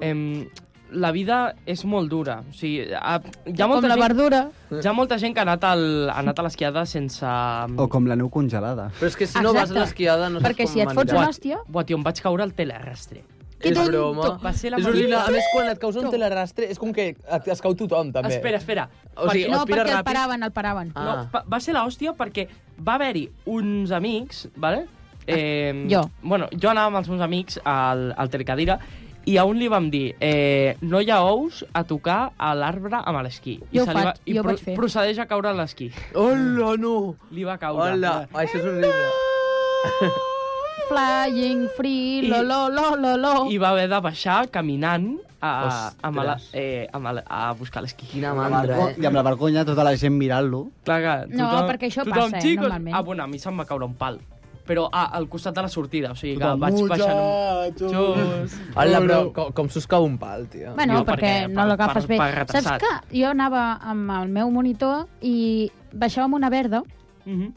Em, la vida és molt dura. O sigui, a, hi ha Com molta la gent... verdura. Hi ha molta gent que ha anat, al, ha anat a l'esquiada sense... um, O com la neu congelada. Però és que si no vas a Exacte. l'esquiada no Perquè saps si com et fots menjar. una Buat. hòstia... Buah, tio, em vaig caure al telerrestre. Que És tonto. broma. Va ser la És major- horrible. A més, quan et causa un telerrastre, és com que et, es cau tothom, també. Espera, espera. O sigui, No, aspira perquè el ràpid. paraven, el paraven. No, Ah. va, va ser l'hòstia perquè va haver-hi uns amics, vale? Ah. Eh, Jo. Bueno, jo anava amb els meus amics al, al telecadira i a un li vam dir eh, no hi ha ous a tocar a l'arbre amb l'esquí. I Jo ho se li faig, va, i jo ho vaig fer. procedeix a caure a l'esquí. Hola, no! Li va caure. Hola. Això és horrible. Flying free, I- lo, lo, lo, lo, lo. I va haver de baixar caminant a, a, a, Ostres. eh, a, mala- a buscar l'esquí. Quina mandra, Vergo- I eh? amb la vergonya tota la gent mirant-lo. Clar que No, perquè això tothom, passa, eh, xicos... normalment. Ah, bueno, a mi se'm va caure un pal. Però a, al costat de la sortida, o sigui que Tothom, vaig baixant un... "Muchachos". Just. Hola, però com, com s'us cau un pal, tio. Bueno, Jo, perquè, perquè no per- per- l'agafes bé. per retrasat. Saps que jo anava amb el meu monitor i baixàvem una verda Mhm.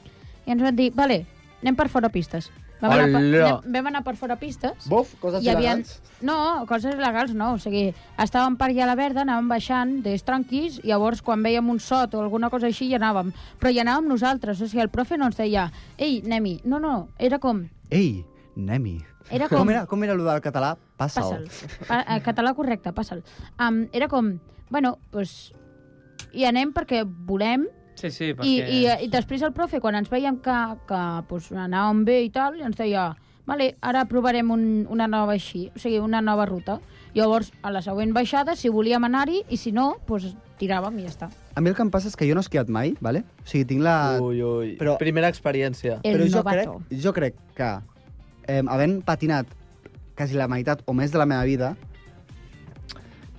i ens van dir, vale, anem per fora pistes. Vam anar per, Hola. anem, vam anar per fora pistes. Bof, coses hi havia... il·legals. No, coses il·legals no. O sigui, estàvem per allà a la verda, anàvem baixant, des tranquils, i llavors quan vèiem un sot o alguna cosa així hi anàvem. Però hi anàvem nosaltres, o sigui, el profe no ens deia ei, anem-hi. No, no, era com... Ei, anem-hi. Era com- Com era, com era allò del català? Passa'l. Passa'l. Pa- eh, Català correcte, passa'l. Um, era com, bueno, doncs, hi anem perquè volem Sí, sí, perquè... i, i, eh, i després el profe, quan ens veiem que, que pues, anàvem bé i tal, ens deia vale, ara provarem un, una nova així, o sigui, una nova ruta. Llavors, a la següent baixada, si volíem anar-hi, i si no, pues, tiràvem i ja està. A mi el que em passa és que jo no he esquiat mai, ¿vale? o sigui, tinc la... Ui, ui. però- Primera experiència. El però jo novato. crec, jo crec que, eh, havent patinat quasi la meitat o més de la meva vida,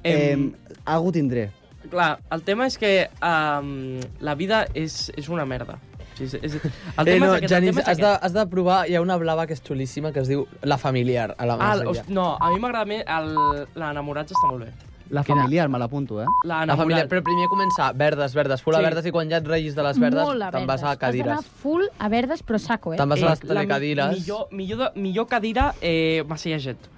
Em, eh, algú tindré. Clar, el tema és que um, la vida és, és una merda. O sigui, és, és, el tema eh, no, és aquest, el Janís, tema és has de, has de provar... Hi ha una blava que és xulíssima que es diu La Familiar, a la Ah, Masella. host- no, a mi m'agrada més... el- L'enamorats està molt bé. La Quina? familiar, me l'apunto, eh? La La Familiar, però primer començar verdes, verdes, full a Sí. verdes, i quan ja et reguis de les verdes, Molt a te'n vas a verdes. Has cadires. d'anar full a verdes, però saco, eh? Te'n vas a les la mi- telecadires. Millor, millor, de, millor cadira, eh, massejaget.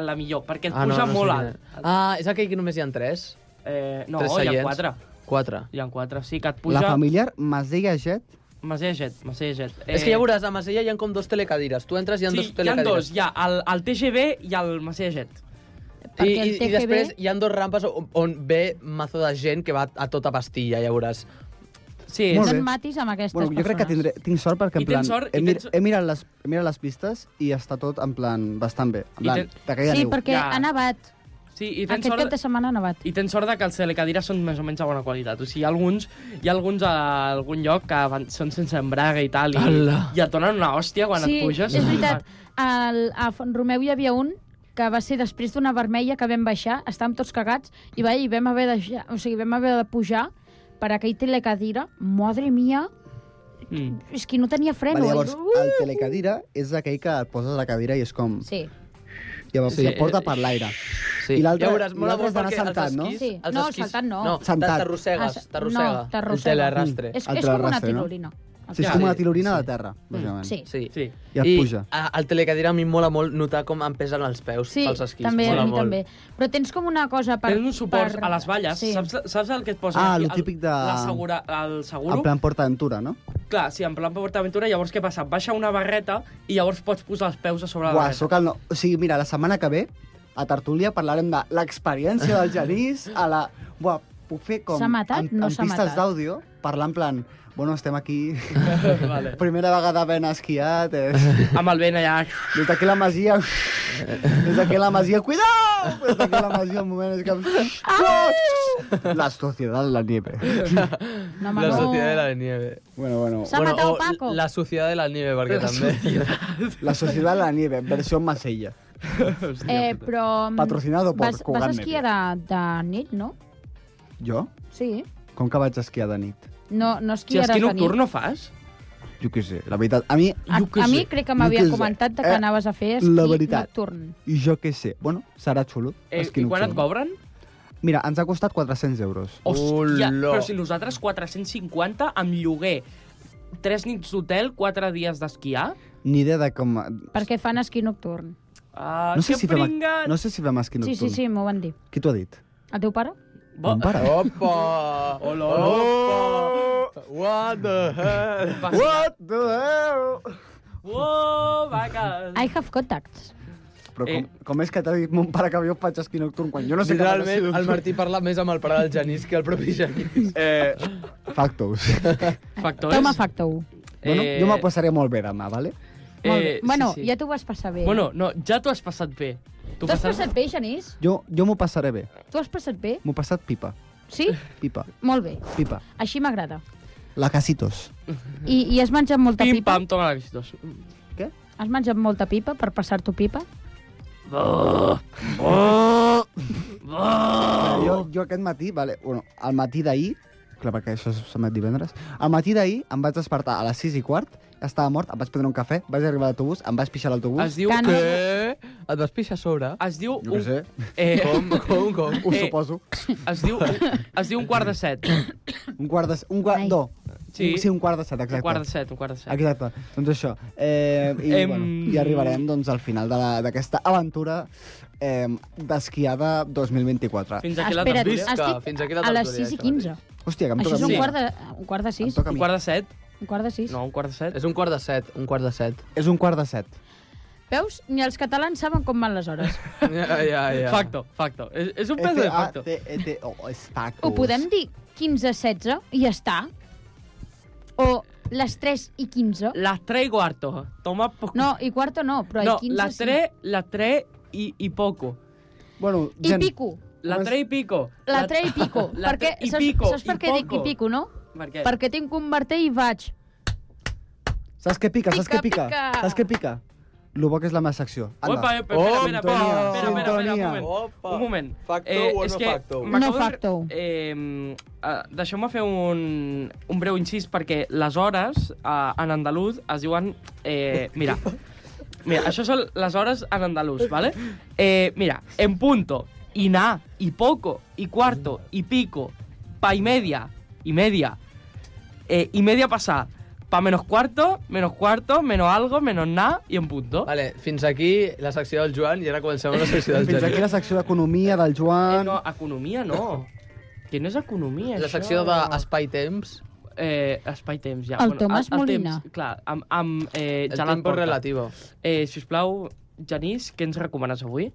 La millor, perquè Ah, et puja molt quina. alt. Ah, és aquell que només hi ha tres? Eh, no, Tres hi ha seients. quatre. Quatre. Hi ha quatre, sí, que et La puja... familiar m'has deia Jet? Massejaget, massejaget. Eh... És que ja veuràs, a Masella hi ha com dos telecadires. Tu entres i hi ha sí, dos hi ha telecadires. dos, hi ha el, el TGB i el massejaget. I, Perquè i, el I TGV després hi ha dos rampes on, on ve mazo de gent que va a tota pastilla, ja veuràs. Sí, Molt és- bé. no et matis amb aquestes Bueno, jo persones. crec que tindré, tinc sort perquè, I en plan, tens sort, i he, mir tens- he, mirat les, he mirat les pistes i està tot, en plan, bastant bé. En I plan, tens- de caire Sí, neu. perquè Ja. ha nevat. sí, i tens Aquest sort... cap de setmana ha nevat. I tens sort de que els telecadires són més o menys de bona qualitat. O sigui, hi ha alguns, hi ha alguns a algun lloc que van, són sense embraga i tal, i, Ala. i et donen una hòstia quan sí, et puges. és veritat. El, a Font Romeu hi havia un que va ser després d'una vermella que vam baixar, estàvem tots cagats, i, va, i vam, haver de, ja- o sigui, vam haver de pujar per aquell telecadira. Madre mia, Mm. és que no tenia Vale, freno. llavors, eh? el telecadira és aquell que et poses a la cadira i és com... Sí. Llavors, Sí. sí. porta per l'aire. Sí. I l'altre- ja veuràs, mola l'altre molt has d'anar perquè els saltant, no? esquís- Sí. els No, esquís- saltant no. No, Saltant. Ah, t'arrossegues, s- t'arrossega. no, t'arrossega. mm. El telerrastre. És, El és com una rastre, no? tirolina. Mm. Sí, és Ja, com una sí, tirolina sí. de terra, bàsicament. Sí. Sí. Sí. I et puja. I a- el telecadira a mi em mola molt notar com em pesen els peus Sí, pels esquís. també, mola a mi molt. també. Però tens com una cosa per... Tens un suport per... a les valles. Sí. Saps, saps el que et posen? Ah, aquí? lo típic de- L'assegura, el seguro. En plan PortAventura, no? Clar, sí, en plan PortAventura. Llavors, què passa? Et Baixa una barreta i llavors pots posar els peus a sobre la Uah, barreta. sóc el no... O sigui, mira, la setmana que ve, a Tertúlia, parlarem de l'experiència del Genís, a la... Buah, puc fer com... S'ha matat? En, No en s'ha pistes matat. d'àudio, parlar en plan... Bueno, estem aquí... vale. Primera vegada ben esquiat... Eh? Amb el vent allà... Des d'aquí la masia... Des d'aquí la masia... Cuidao! Des d'aquí la masia, un moment... És que... La societat de la nieve. No, home, La no. sociedad de la nieve. Bueno, bueno. S'ha matat o Paco. La sociedad de la nieve, perquè també... La societat de la nieve, versió Masella. Eh, però... mm, Patrocinado por vas, Cugat vas esquiar de, de nit, no? Jo? Sí. Com que vaig esquiar de nit? No, no Si esquiaràs esquí de nit. nocturn no fas? Jo què sé, la veritat. A mi, A, jo què a mi sé, crec que jo m'havia què sé. comentat de que Eh, anaves a fer esquí la veritat. nocturn. I jo què sé. Bueno, serà xulo. Eh, esquí I quan et nocturn. cobren? Mira, ens ha costat 400 euros. Hòstia, Olor. però si nosaltres 450 amb lloguer, 3 nits d'hotel, 4 dies d'esquiar... Ni idea de com... Perquè fan esquí nocturn. Uh, No sé, si fem, pringat! no sé si fem esquí Sí, nocturn. sí, sí, m'ho van dir. Qui t'ho ha dit? El teu pare? Bo- eh, Mon pare. Opa! Hola, Opa! What the hell? Va- What the hell? Uou, vaca! I have contacts. Però com, Eh. com és que t'ha dit mon pare que jo faig esquí nocturn quan jo no sé què faig esquí Literalment, el nocturn? Martí parla més amb el pare del Genís que el propi Genís. Eh, factos. Factors. Toma facto. Bueno, jo m'ho passaré molt bé demà, vale? Molt bé. Bueno, ja t'ho vas passar bé. Eh, Bueno, no, ja t'ho has passat bé. T'ho T'ho has passat bé, Genís? Jo, jo m'ho passaré bé. T'ho has passat bé? M'ho he passat pipa. Sí? Pipa. Molt bé. Pipa. Així m'agrada. La casitos. I, I has menjat molta Mhm. Pim, pipa? pam, toma la visitos. Has menjat molta pipa per passar-t'ho pipa? Mira, jo, jo aquest matí, vale, bueno, al matí d'ahir, clar, perquè això s'emet divendres, al matí d'ahir em vaig despertar a les 6 i quart, estava mort, em vaig prendre un cafè, vaig arribar a l'autobús, em vaig pixar a Es l'autobús, diu... Que no. Què? Et vas pixar a sobre? Es diu... jo què Un, sé, eh, Com, com, com? ho eh. suposo. es, diu, es diu un quart de set. Un quart de... Un quart, Ai. no, Sí. sí. sí, un quart de set, exacte. Un quart de set, un quart de set. Exacte, doncs això. Eh, i, Em- bueno, I arribarem doncs, al final de la- d'aquesta aventura eh, d'esquiada 2024. Fins aquí la Espera't, tertúlia. Visca, estic fins aquí la a les tertúlia, 6 i això 15. Hòstia, que em Això toca és a un mi. quart de, un quart de Em 6. toca a Un mi. quart de set? Un quart de 6. No, un quart de set. És un quart de set, un quart de set. És un quart de set. Veus? Ni els catalans saben com van les hores. Ja, ja, ja. Facto, facto. És, és un pedaç de facto. F-A-C-E-T-O, és factos. Ho podem dir 15-16 i ja està? O les 3 i 15? Las 3 y cuarto. Toma poco. No, i quarto no, però no i 15 las 3, las 3 y, y poco. Bueno, sí. I pico. La Mas- 3 y pico. La 3 i pico. La perquè, tres i saps, pico, saps per i què dic i poco. pico, no? Per què? Perquè tinc un martell i vaig. Saps què pica? Saps Pica, què pica? pica. Saps què pica? Lo bo que és la meva secció. Opa, eh. epa, espera, espera, espera, espera, espera, espera, Sintonia. un moment. Opa. Un moment. Facto o és no que facto? m'acabo No de- facto. Eh, eh, Deixeu-me fer un, un breu incís, perquè les hores eh, en andalús es diuen... Eh, mira, mira, això són les hores en andalús, ¿vale? Eh, mira, en punto, y na, y poco, y cuarto, y pico, pa y media, y media, eh, y media pasar, pa menos cuarto, menos cuarto, menos algo, menos na, y en punto. Vale, fins aquí la secció del Joan i ara comencem la secció del Fins Joan. aquí la secció d'economia del Eh, Joan. no, economia no. Que no és economia, La això. secció d'espai-temps, Eh, espai-temps, ja. El Tomàs Molina. Temps, clar, amb, amb eh, el Gelat tempo Porta. relativo. Eh, sisplau, Genís, què ens recomanes avui?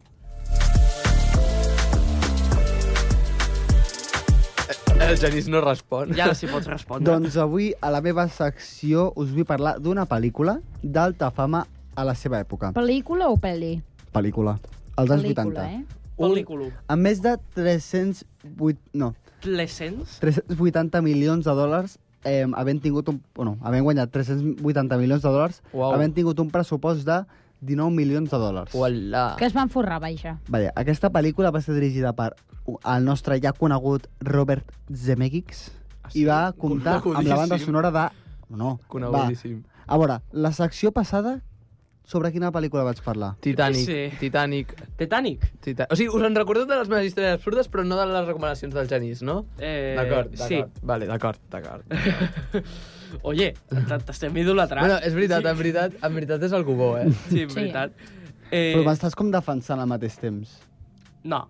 El Genís no respon. Ja ara sí pots respondre. Doncs avui, a la meva secció, us vull parlar d'una pel·lícula d'alta fama a la seva època. Pel·lícula o pel·li? Pel·lícula. Als anys 80. Pel·lícula, eh? Pel·lícula. Amb més de 308... No, Tlessens? 380 milions de dòlars eh, havent tingut un... Bueno, havent guanyat 380 milions de dòlars, Uau. havent tingut un pressupost de 19 milions de dòlars. Uala. Que es van forrar, vaja. Vaja, aquesta pel·lícula va ser dirigida per el nostre ja conegut Robert Zemeckis i va comptar amb la banda Ah, conegudíssim. sonora de... No, va. Conegudíssim. A veure, la secció passada, sobre quina pel·lícula vaig parlar? Titanic, Sí. Titanic, Titanic? Titanic. O sigui, us en recordeu de les meves històries absurdes, però no de les recomanacions del Genís, no? Eh, D'acord, d'acord. Sí. Vale, d'acord, d'acord. Oye, t- t'estem idolatrant. Bueno, és veritat, en veritat, en veritat és algú bo, eh? Sí, en veritat. Eh, Però m'estàs com defensant al mateix temps. No.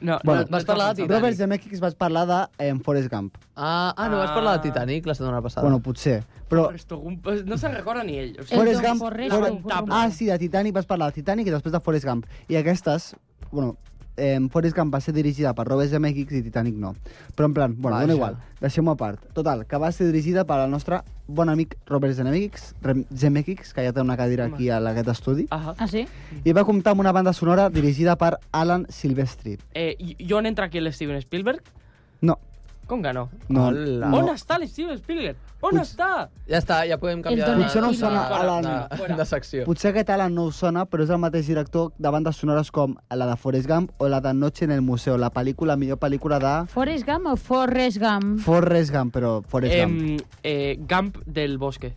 No, Bueno, no, vas parlar de defensant. Robert Zemeckis vas parlar de eh, Forrest Gump. Ah, ah no, vas parlar de Titanic la setmana passada. Bueno, potser. Però Forrest Gump, eh, No se'n recorda ni ell. O sigui, Forrest Don Gump... Forrest Forrest- Gump. Ah, sí, de Titanic vas parlar de Titanic i després de Forrest Gump. I aquestes, bueno, eh, Forrest Gump va ser dirigida per Robert Zemeckis i Titanic no. Però en plan, bueno, Vaja. dona igual, deixem-ho a part. Total, que va ser dirigida per el nostre bon amic Robert Zemeckis, Rem- Zemeckis que ja té una cadira aquí a la- aquest estudi, Ahà. Ah, sí? i va comptar amb una banda sonora dirigida per Alan Silvestri. Eh, i- i on entra aquí el Steven Spielberg? No, Com que no? no, Hola. no. On està el Steven Spielberg? On Puig- està? Ja està, ja podem canviar Donald. Potser no de, us sona de, Alan. de, de, de secció. Potser aquest Alan no us sona, però és el mateix director de bandes sonores com la de Forrest Gump o la de Noche en el Museu, la pel·lícula, millor pel·lícula de Forrest Gump o Forrest Gump? Forrest Gump, però Forrest Gump. Em, eh, Gump del Bosque.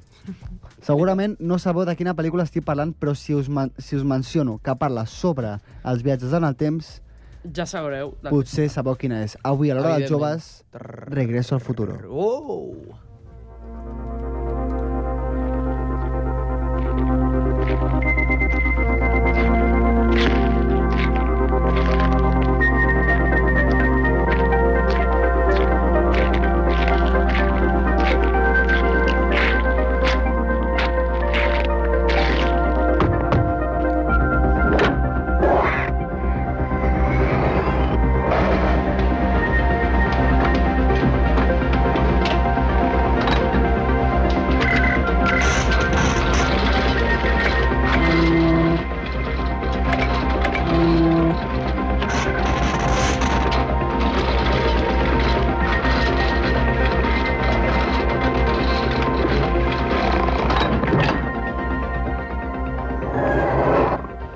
Segurament no sabeu de quina pel·lícula estic parlant, però si us, men si us menciono que parla sobre els viatges en el temps, Ja sabreu. doncs. de- potser sabeu quina és. Avui, a l'hora dels Evidentment. joves, regreso al futuro. Oh!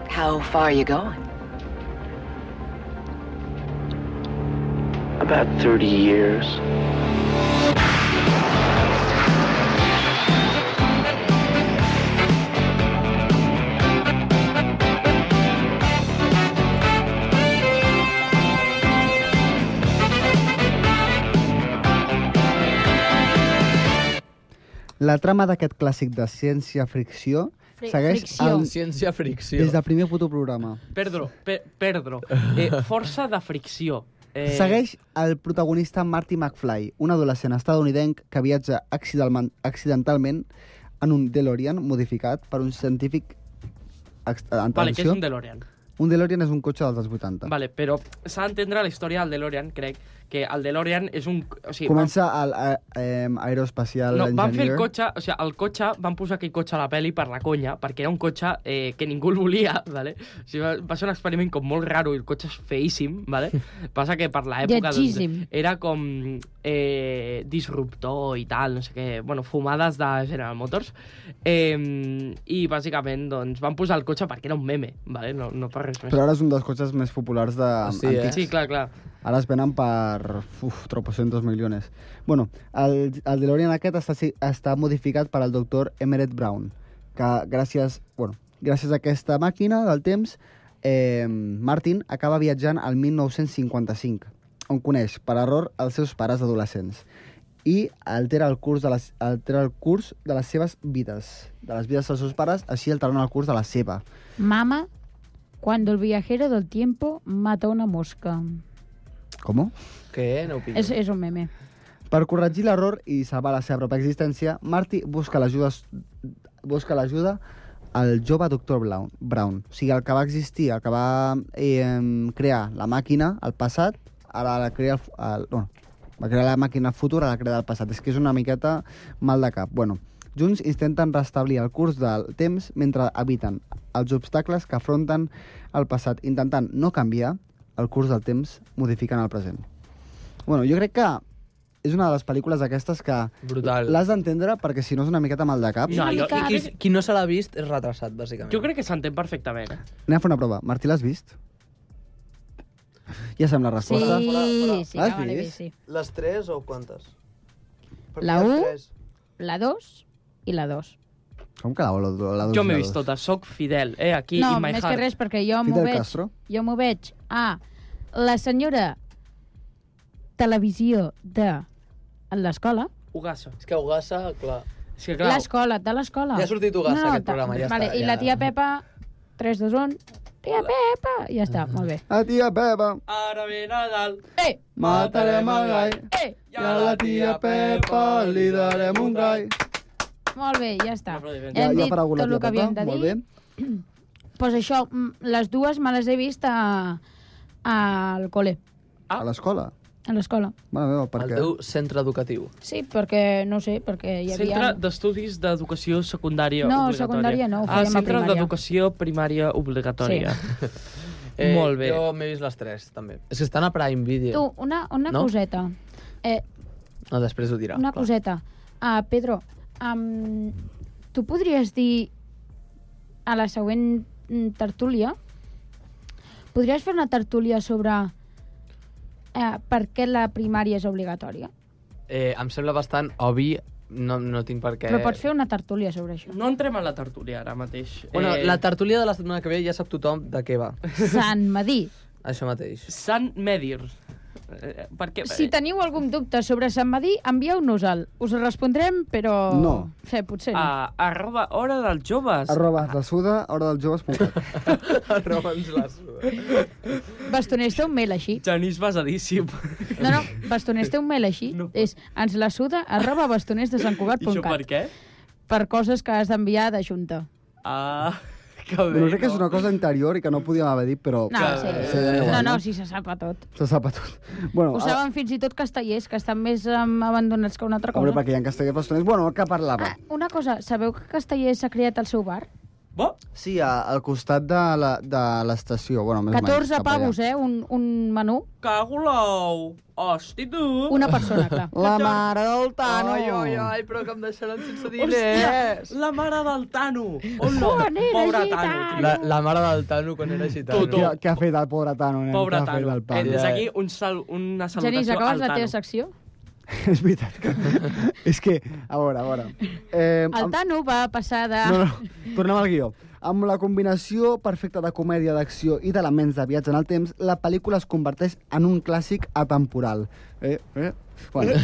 How far are you going? About 30 years. La trama d'aquest clàssic de ciència-ficció Fri- segueix fricció. el, Ciència fricció. des del primer puto programa. Perdro, per, perdro. Eh, força de fricció. Eh, Segueix el protagonista Marty McFly, un adolescent estadounidenc que viatja accidentalment, accidentalment en un DeLorean modificat per un científic ex- en Vale, que és transició. un DeLorean. un DeLorean és un cotxe dels 80. Vale, però s'ha d'entendre la història del DeLorean, crec, que el DeLorean és un... O sigui, Comença al a- em, aeroespacial no, van fer el engineer. cotxe, o sigui, el cotxe, van posar aquell cotxe a la pel·li per la conya, perquè era un cotxe eh, que ningú el volia, ¿vale? o sigui, va, va ser un experiment com molt raro i el cotxe és feíssim, ¿vale? passa que per l'època Lletgíssim. era com eh, disruptor i tal, no sé què, bueno, fumades de General Motors, eh, i bàsicament doncs, van posar el cotxe perquè era un meme, ¿vale? no, no per res més. Però ara és un dels cotxes més populars de sí, eh? antics. sí, clar, clar. Ara es venen per uf, tropocientos millones. Bueno, el, el DeLorean aquest està, si- està modificat per al doctor Emmerich Brown, que gràcies, bueno, gràcies a aquesta màquina del temps, eh, Martin acaba viatjant al 1955, on coneix, per error, els seus pares adolescents i altera el curs de les, altera el curs de les seves vides, de les vides dels seus pares, així alterant el curs de la seva. Mama, cuando el viajero del tiempo mata una mosca. Com? Què? No ho pillo. És, és un meme. Per corregir l'error i salvar la seva pròpia existència, Marty busca l'ajuda busca l'ajuda al jove doctor Brown, Brown. O sigui, el que va existir, el que va eh, crear la màquina al passat, ara la crea el, fu- el, bueno, va crear la màquina al futur, ara la crea del passat. És que és una miqueta mal de cap. Bueno, junts intenten restablir el curs del temps mentre eviten els obstacles que afronten el passat, intentant no canviar el curs del temps, modificant el present. Bueno, jo crec que és una de les pel·lícules aquestes que Brutal. l'has d'entendre perquè si no és una miqueta mal de cap. No, jo, I qui, qui no se l'ha vist és retrasat, bàsicament. jo crec que s'entén perfectament. Eh? Anem a fer una prova. Martí, l'has vist? Ja sap la Sí, resposta. sí, sí, Ah, L'has ja me l'he vist? vist, sí. Les tres o quantes? Per La mi les u. tres. La 2 i la 2. Com que la, la, la dos Jo m'he i la vist dos? totes, soc fidel, eh, aquí, no, in my més heart. que res, perquè jo m'ho Fidel veig... Castro. Jo m'ho veig a la senyora televisió de l'escola. Ugassa. És que Ogassa, clar... És que, clar, L'escola, de l'escola. Ja ha sortit Ogassa, aquest ta- programa, ja vale, està, I ja. la tia Pepa, 3, 2, 1... Tia Pepa! Ja està, molt bé. A tia Pepa, Ara ve Nadal. Eh, matarem el gai. eh! I a la tia Pepa li darem un gai. Molt bé, ja està. Aplaudiment. Ja, Hem ja dit farà tot alguna el que tia havíem Pepa, de molt dir. bé. pues això, mm, les dues me les he vist a, al col·le, A l'escola. a l'escola. Mare meva, per Al què? teu centre educatiu. Sí, perquè, no sé, perquè hi havia... Centre d'Estudis d'Educació Secundària No, Obligatòria. secundària no, ho Ah, fèiem a Centre primària. d'Educació Primària Obligatòria. Eh, Molt Eh, bé. Jo m'he vist les tres, també. És que estan a Prime Video. Tu, una, una No? coseta. Eh, No, després ho dirà. una clar. coseta. Ah, Pedro, um, tu podries dir a la següent mm, tertúlia, podries fer una tertúlia sobre eh, per què la primària és obligatòria? Eh, em sembla bastant obvi, no, no tinc per què... Però pots fer una tertúlia sobre això. No entrem a la tertúlia ara mateix. Eh, Bueno, Eh. la tertúlia de la setmana que ve ja sap tothom de què va. Sant Madí, Això mateix. Sant Medir. Eh, perquè... si teniu algun dubte sobre Sant Madí, envieu-nos-el. Us el respondrem, però... No. Sí, potser no. Ah. A, arroba Hora dels Joves. Arroba la suda, hora dels joves. punt cat. Roba'ns la suda. Bastoners té un mail així. Genís basadíssim. No, no, bastoners té un mail així. No. És ens la suda arroba I això per bastonersdesancugat.cat què? per coses que has d'enviar de Junta. Ah, que bé. Bueno, crec que és una cosa interior i que no podíem haver dit, però... No, sí. sí, da igual, no, no, no? ah. sí, se sap a tot. Se sap a tot. Bueno, Ho saben fins i tot castellers, que estan més um, abandonats que una altra a, veure, cosa. perquè hi ha castellers bastoners. Bueno, el que parlava. Ah, una cosa, sabeu que Castellers s'ha creat el seu bar? Bo? Sí, a, al costat de la- de l'estació. Bueno, més o menys, 14 cap allà. pavos, eh? Un, un menú. Cago l'ou. Hosti, tu. Una persona, clar. La mare del Tano! Ai, ai, ai, però que em deixaran sense Hòstia, diners. la mare del Tano. Hola, Quan era pobre gitano. Tano. La, la mare del Tano quan era gitano. Tu, tu. Què, què ha fet el pobre Tano, nen? Què Pobre ha fet Tano. el Eh, Tano? des d'aquí un sal, una salutació Genís, al acabes la Tano. teva secció? és veritat que... és que, a veure, a veure... Eh, El amb- Tano va passar de... No, no, tornem al guió. Amb la combinació perfecta de comèdia, d'acció i d'elements de viatge en el temps, la pel·lícula es converteix en un clàssic atemporal. Eh, eh? Bueno,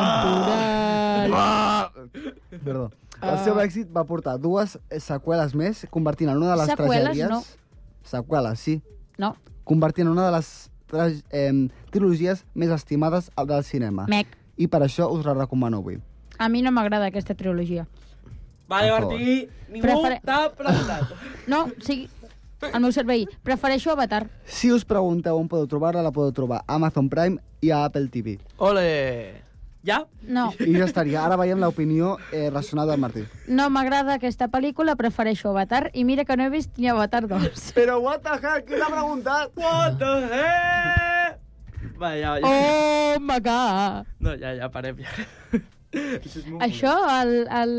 Ah. Atemporal. perdó. Ah. El seu èxit va portar dues seqüeles més, convertint en una de les Seqüeles, tragèdies... no. Seqüeles, sí. No, Convertint en una de les tra... eh, trilogies més estimades del cinema. mec. I per això us la recomano avui. A mi no m'agrada aquesta trilogia. Vale, Per Martí, ningú Prefere- t'ha preguntat. No, o sigui, El meu servei. Prefereixo Avatar. Si us pregunteu on podeu trobar-la, la podeu trobar a Amazon Prime i a Apple TV. Ole! Ja? No, I ja estaria. Ara veiem l'opinió eh, racional del Martí. no m'agrada aquesta pel·lícula, prefereixo Avatar. I mira que no he vist ni Avatar 2. Però what the heck, qui l'ha preguntat? What the heck? Va, eh? ja, ja. Oh my god! No, ja, ja, parem, ja. Això és molt Això, el, el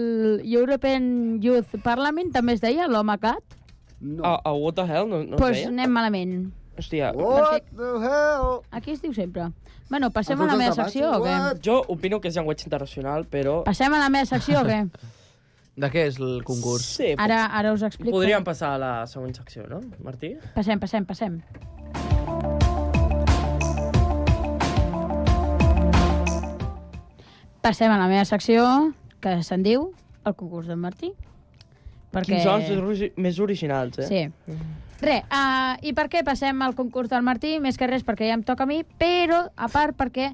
European Youth Parliament també es deia l'home cat? No. A, a What the Hell no, no Doncs pues es deia? anem malament. Hòstia, What the hell? Aquí es diu sempre. Bueno, passem Em a la fots meva els tapats? secció o què? What? jo opino que és llenguatge internacional, però... Passem a la meva secció o què? De què és el concurs? Sí, Ara, ara us explico. podríem passar a la següent secció, no, Martí? Passem, passem, passem. Passem a la meva secció, que se'n diu el concurs d'en Martí. Perquè... Quins sons ori- més originals, eh? Sí. Re, uh, i per què passem al concurs del Martí? Més que res perquè ja em toca a mi, però a part perquè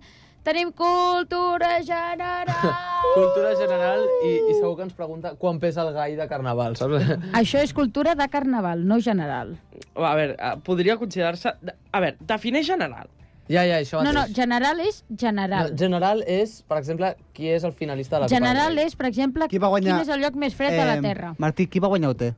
tenim cultura general. Cultura general i, i segur que ens pregunta quan pesa el gall de carnaval, saps? Això és cultura de carnaval, no general. A veure, eh, podria considerar-se... A veure, defineix general. ja, ja, això No, no, mateix. general és general. No, general és, per exemple, qui és el finalista de la General Copa del Rei. és, per exemple, Qui va guanyar? Eh, quin és el lloc més fred de la Terra. Martí, qui va guanyar el té?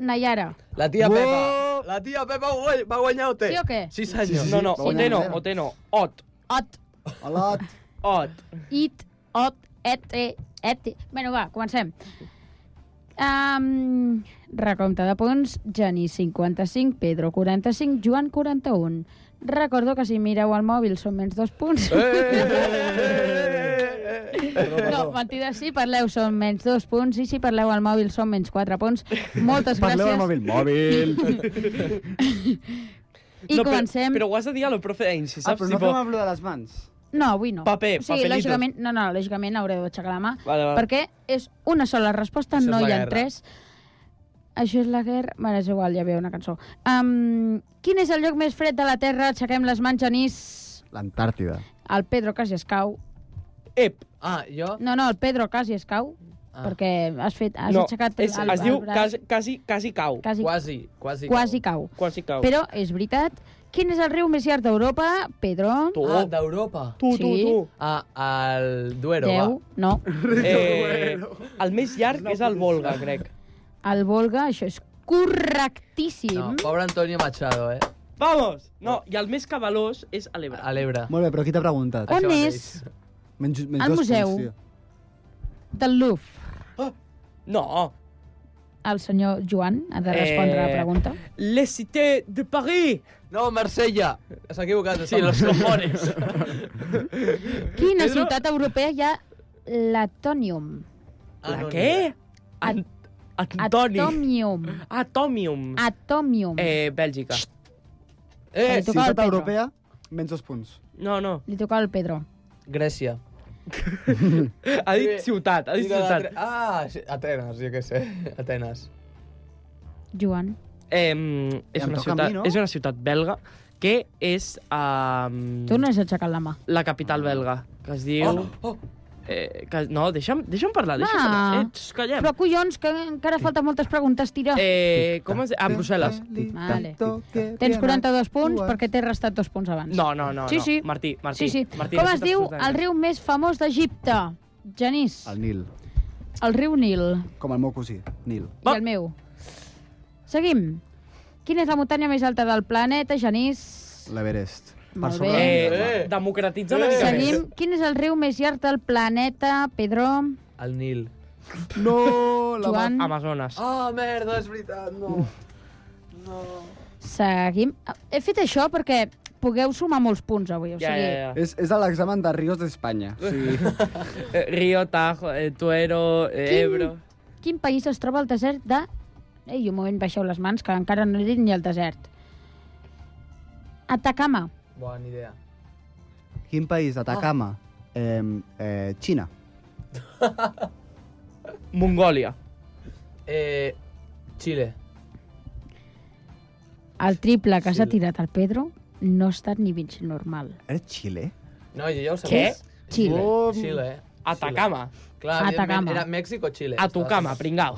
Nayara. La tia Uou! Pepa. La tia Pepa guai- va guanyar OT. Sí o què? Sí, senyor. No, no, va guanyar OT no, Nayara. OT no. OT, Ot, Olot. OT. it, ot, et, e, et. Bueno, va, comencem. Um, recompte de punts, Genís 55, Pedro 45, Joan 41. Recordo que si mireu el mòbil són menys dos punts. Eh, Eh. No, mentida, si parleu són menys dos punts i si parleu al mòbil són menys quatre punts. Moltes Parleu al gràcies. mòbil. Mòbil. I no, comencem... Però, però ho has de dir a lo profe d'Ainsi, Ah, saps? però no fem el de les mans. No, avui no. Paper, o sigui, papelito. lògicament, no, no, lògicament haureu d'aixecar la mà, Vale, vale. perquè és una sola resposta, Això és no la hi ha guerra. tres. Això és la guerra... Bueno, és igual, ja veu una cançó. Um, quin és el lloc més fred de la Terra? Aixequem les mans, Genís. L'Antàrtida. El Pedro quasi es cau. Ep, Ah, jo? No, no, el Pedro quasi es cau, Ah. perquè has fet... Has no, aixecat és, el, es diu el braç. quasi, quasi, quasi cau. Quasi, quasi, Ah, Quasi, quasi. quasi cau. Quasi cau. Però és veritat. Quin és el riu més llarg d'Europa, Pedro? Tu, Ah, d'Europa. tu, tu, Sí. tu. Ah, el Duero, Deu? va. No. Eh, el més llarg és el Volga, crec. El Volga, això és correctíssim. No, pobre Antonio Machado, eh? Vamos! No, i el més cabalós és a l'Ebre. A l'Ebre. Molt bé, però qui t'ha preguntat? On Això mateix. és? Menys, menys Al dos museu. Punts, tio. Del Louvre. No, El senyor Joan ha de respondre a Eh, la pregunta. les cités de Paris! No, Marsella. S'ha equivocat. Sí, los cojones. Quina Pedro? ciutat europea hi ha l'Atonium? Ah, La què? An Antoni. Atomium. Atomium. Ah, Atomium. Eh, Bèlgica. Li Eh, tocava al Ciutat Pedro. europea, menys dos punts. No, no. Li tocava al Pedro. Grècia. Ha dit ciutat, ha dit Mira, Atre- ciutat. Ah, sí, Atenes, jo què sé. Atenes. Joan. Eh, Ja és, em una toca a mi, ciutat, no? és una ciutat belga que és um, Tu no has aixecat la mà. la capital belga, que es diu... Oh, oh, Eh, que, no, deixa'm, deixa'm parlar, deixa'm Va. parlar. Ets, callem. Però collons, que encara falten moltes preguntes, tira. Eh, com es diu? A Brussel·les. Vale. Tens 42 punts perquè t'he restat dos punts abans. No, no, no. Sí, no. sí. Martí, Martí. sí, sí. Martí, Com no es surt diu absolutament el res. riu més famós d'Egipte? Genís. El Nil. El riu Nil. Com el meu cosí, Nil. Va. I el meu. Seguim. Quina és la muntanya més alta del planeta, Genís? L'Everest. Molt sobre bé. del Nil. Eh, Eh. democratitza una mica més. Seguim. Quin és el riu més llarg del planeta, Pedro? el Nil. No, la Joan? Amazones. Ah, merda, és veritat, no. Seguim. He fet això perquè pugueu sumar molts punts avui. O Ja, sigui, ja, ja. És, és a l'examen de Rios d'Espanya. Sí. Eh, Río, Tajo, eh, Tuero, eh, Ebro... Quin país es troba al desert de... Ei, un moment, baixeu les mans, que encara no he dit ni el desert. Atacama. Bona idea. Quin país? Atacama. Eh, eh, Xina. Mongòlia. Eh, Xile. El triple que s'ha tirat al Pedro no ha estat ni mig normal. Era Xile? No, jo ja ho Què? sabia. Xile. Xile. eh. Atacama. Clar, Atacama. evidentment, era Mèxic o Xile. A tu cama, pringau.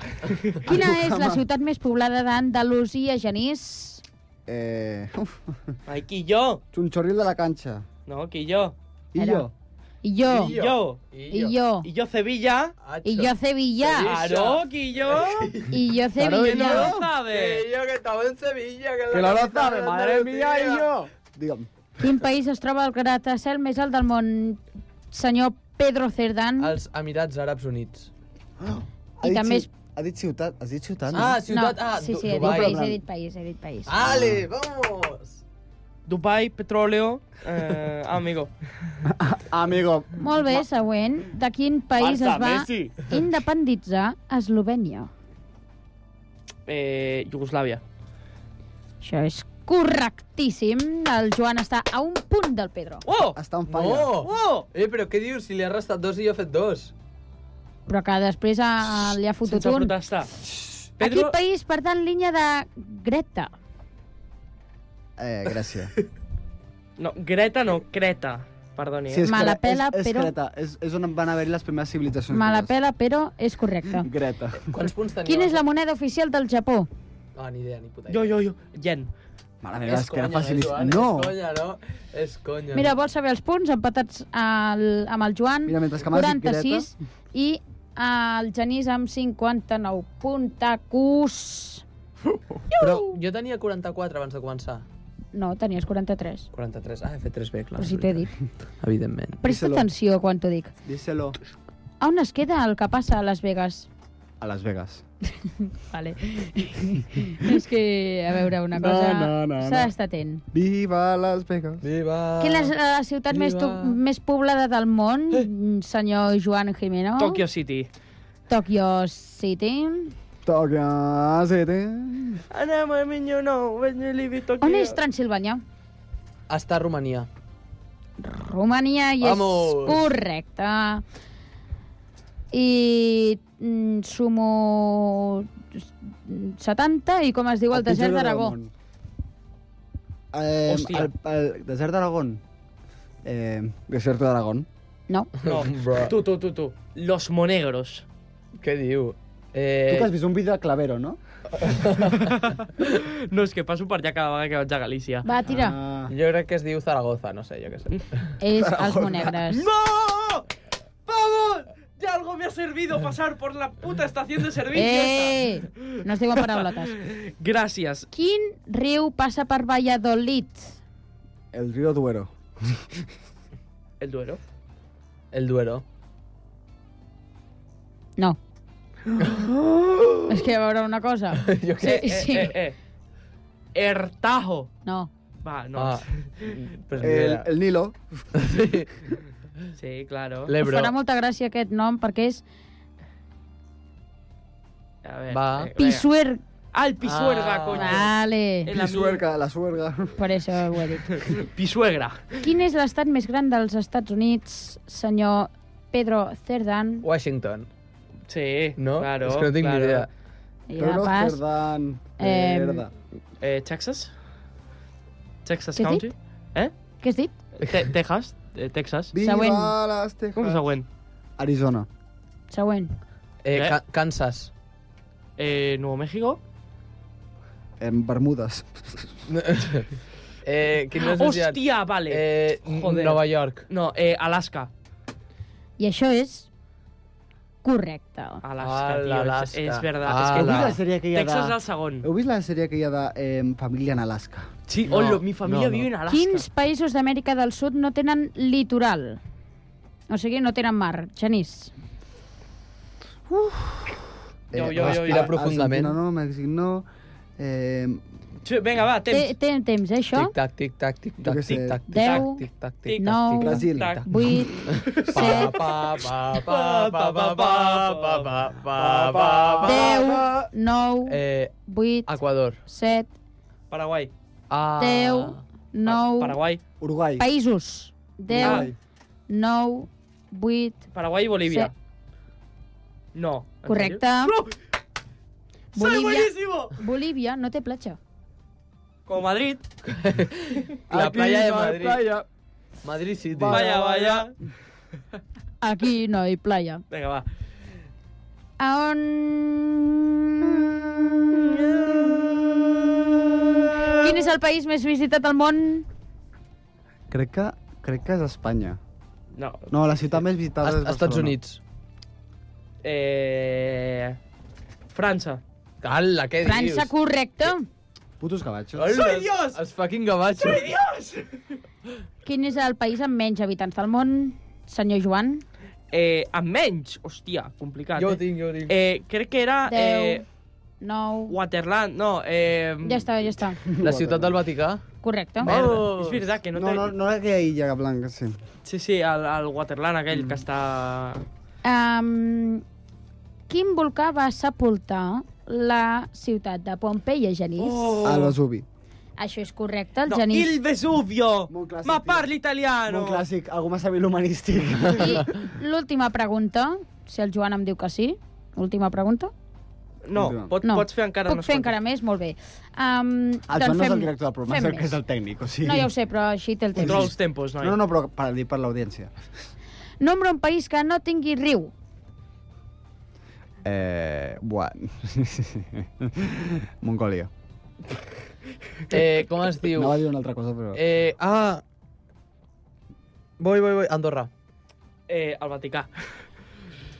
Quina és la ciutat més poblada d'Andalusia, Genís? Eh, uf, Ai, Quilló. Chunchorril de la canxa. No, Quilló. I Era. jo? I jo. Quilló. I jo. I jo, Sevilla. I jo Sevilla. Claro, Quilló. I jo No Sevilla. lo sabes. Que yo que estaba en Sevilla. Que, Que la lo sabe, madre mía, i jo! Digue'm. Quin país es troba el gratacel més alt del món? Senyor Pedro Cerdán. Els Emirats Àrabs Units. Ha dit també ci- Ha dit ciutat, has dit ciutat? Mm. Ah, no? ciutat... no, ah, sí, Du- sí, he dit Dubai. Ah, país, he dit país, he dit país. Ale, Ah. vamos. Dubai, petróleo, eh, amigo. Amigo, Molt bé, següent. De quin país es va independitzar Eslovènia? Eh, Iugoslàvia. Això és correctíssim. El Joan està a un punt del Pedro. Oh! està en falla. No! Oh! Eh, però què dius? Si li han restat dos i jo he fet dos. Però que després ah, li ha fotut Sense un. protestar. A quin Pedro, país pertany línia de Greta? Eh, gràcies. no, Greta no, Creta. Perdoni, eh? Sí, és Me la cre- pela, és, és però- Creta. És, és on van haver-hi les primeres civilitzacions. Me la gregues. pela, però és correcte. Greta. Quants punts teniu? Quina és la moneda oficial del Japó? No, ni idea, ni puta idea. Jo, jo, jo. Yen. Mare meva, és, que era conya, facilíssim. eh, Joan, No! És conya, no? És conya. Mira, vols saber els punts empatats al, amb el Joan? Mira, mentre que m'has dit 46 i el Genís amb 59 puntacus. Però jo tenia 44 abans de començar. No, tenies 43. 43. Ah, he fet 3 bé, clar. Però si t'he dit. Evidentment. Presta Díselo. atenció quan t'ho dic. Díselo. A on es queda el que passa a Las Vegas? A Las Vegas. Vale. És que, a veure, una No, cosa... no, no, S'ha no. d'estar atent. Viva Las Vegas. Viva! Quina és la ciutat més, tu, Viva. més poblada del món, senyor Joan Jimeno? Tokyo City. Tokyo City. Tokyo City. Anem, e miño, no, when you leave it, Tokyo. On és Transilvània? Està a Romania. Romania i Vamos. és correcte. I mm, sumo 70 i com es diu el, desert d'Aragó. Eh, Hòstia. el, el desert d'Aragón. Eh, desert d'Aragón. No, No, Bro. tu, tu, tu, tu. Los Monegros. Què diu? Tu Eh, que has vist un vídeo de Clavero, no? No, és que passo per allà cada vegada que vaig a Galícia. va, tira. Ah, Jo crec que es diu Zaragoza, no sé, jo què sé. És els Monegres. ¡No! ¡Vamos! Ya algo me ha servido pasar por la puta estación de servicio. Eh! No es diuen paraulotes. esta. Gracias. Quin riu passa per Valladolid? el río Duero. El duero. El Duero. No. És que, a veure, una cosa. Jo Sí, Eh, sí. eh, eh. Ertajo. No. Va, no. Ah, pues ni El, idea. el Nilo. Sí, claro. Em L'Ebro. farà molta gràcia aquest nom perquè és A ver. Va. eh, venga. Pisuer... Ah, el pisuerga, Ah. coño. Vale, El ami- La suerga, la suerga. per això ho he dit. Pisuegra. Quin és l'estat més gran dels Estats Units, senyor Pedro Cerdán? Washington. Sí, No? claro. És que no tinc claro. ni idea. Ja Pedro pas. Cerdán. Em, Cerda. Eh, Texas. Texas Què has County. Eh? Què has dit? Te- Texas. Eh, Texas. Viva següent. las Tejas. Ah. Com següent? Arizona. Següent. Eh, Eh? Ca- Kansas. Eh, Nuevo México. En Bermudes. eh, Ah, quin més oceans? Hostia, vale. Eh, Joder. Nova York. No, eh, Alaska. I això és correcte. Alaska, Ah. Al- tío. es- Alaska. Es, verdad. Al- es que Heu vist la sèrie aquella de- Texas al sagón. Heu vist la sèrie aquella de eh, Família en Alaska? Sí, No, hola, mi familia no, no. vive en Alaska. Quins països d'Amèrica del Sud no tenen litoral? O sigui, no tenen mar. Genís. Jo, jo, jo, Eh, Respira jo. profundament. Argentina no, Mèxic no. Eh, Sí, Venga, va, temps. Té, té temps, eh, això? Tic-tac, tic-tac, tic-tac, Jo què sé. tic-tac, Deu, tic-tac, tic-tac, tic, tic-tac. nou, Brasil. Tac. 8, Pa, 7, pa, pa, pa, pa, pa, pa, pa, pa, pa, pa, pa. 10, 9, Eh, 8, Equador. 7, Paraguay. Ah. 10, 9, Paraguay. Uruguai. països. 10, 9, 8, Paraguay y Bolivia. Sí. No. ¿en Correcte. serio? ¡No! ¡Soy Bolivia. buenísimo! Bolívia no té platja. Como Madrid. La playa de Madrid. Playa. Oh. Madrid City. Vaya, vaya. Aquí no hay playa. Vinga, va. A on... Quin és el país més visitat al món? Crec que, crec que és Espanya. No. No, la ciutat més visitada és Est Barcelona. Estats Units. Eh... França. Cala, què França, dius? correcte. Putos gavatxos. Hola, Soy Dios! Els fucking gavatxos. Soy Dios! Quin és el país amb menys habitants del món? Senyor Joan? Eh, amb menys, hòstia, complicat. Jo ho eh? tinc, jo ho tinc. Eh, crec que era... Eh, 10, 9... Waterland, no. Eh, Ja està, ja està. La ciutat del Vaticà. Correcte. Merda. Vamos. És veritat que no, No, té... no, no era aquella illa blanca, sí. Sí, sí, el, el Waterland aquell mm. que està... Um, quin volcà va sepultar la ciutat de Pompeia, Genís? Oh. A Vesuvi. Això és correcte, el No, Genís. il Vesuvio! Molt clàssic, Ma tio. parli Bueno. italiano! Un clàssic, algú massa vil humanístic. I l'última pregunta, si el Joan em diu que sí, última pregunta. No, pot, No. no, pots fer encara Puc unes fer quantes. encara més? Molt bé. Um, El Ah, Joan no és el director del programa, fem és el que és més. el tècnic, o sigui... No, ja ho sé, però així té el temps. Controla els tempos, noi. No, no, no, però per, dir per l'audiència. Nombra un país que no tingui riu. Eh, buah. Mongòlia. Eh, com es diu? No va dir una altra cosa, però... Eh, ah... Voy, voy, voy. Andorra. Eh, el Vaticà.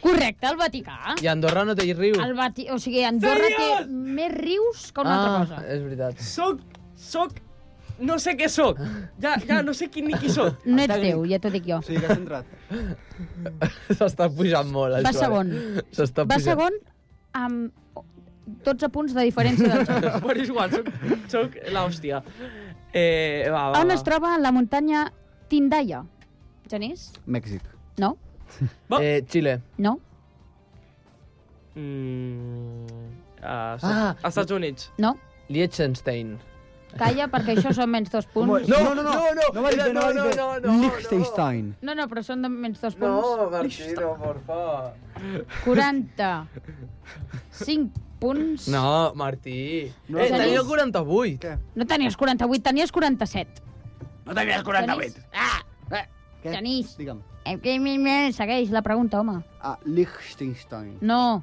Correcte, el Vaticà. I Andorra no té riu. El Vati... O sigui, Andorra té més rius que una ah, altra cosa. eh, és veritat. Soc, soc... No sé què soc. Ja, ja no sé quin ni qui soc. No ets Déu, ja t'ho dic jo. O sigui, que has entrat. S'està pujant molt, el Va Joan. segon. S'està Va pujant. segon amb 12 punts de diferència del Joan. Però és igual, soc, soc l'hòstia. Eh, va, va, On va. es troba la muntanya Tindaya? Genís? Mèxic. No? Eh, Xile. No? Mm, a, Ah. ah, als Estats Units. No? Liechtenstein. Calla, perquè això són menys dos punts. No, no, no, No no, va dir bé, no va dir bé. no, no, no. Liechtenstein. No, no, però són de menys dos punts. No, Martino, por favor. 45 punts. No, Martí. No, eh, no. tenia el 48. No tenies 48, tenies 47. No tenies 48. Què? Genís. Digue'm. Eh, eh, eh, eh, Segueix la pregunta, home. Ah, Liechtenstein. No,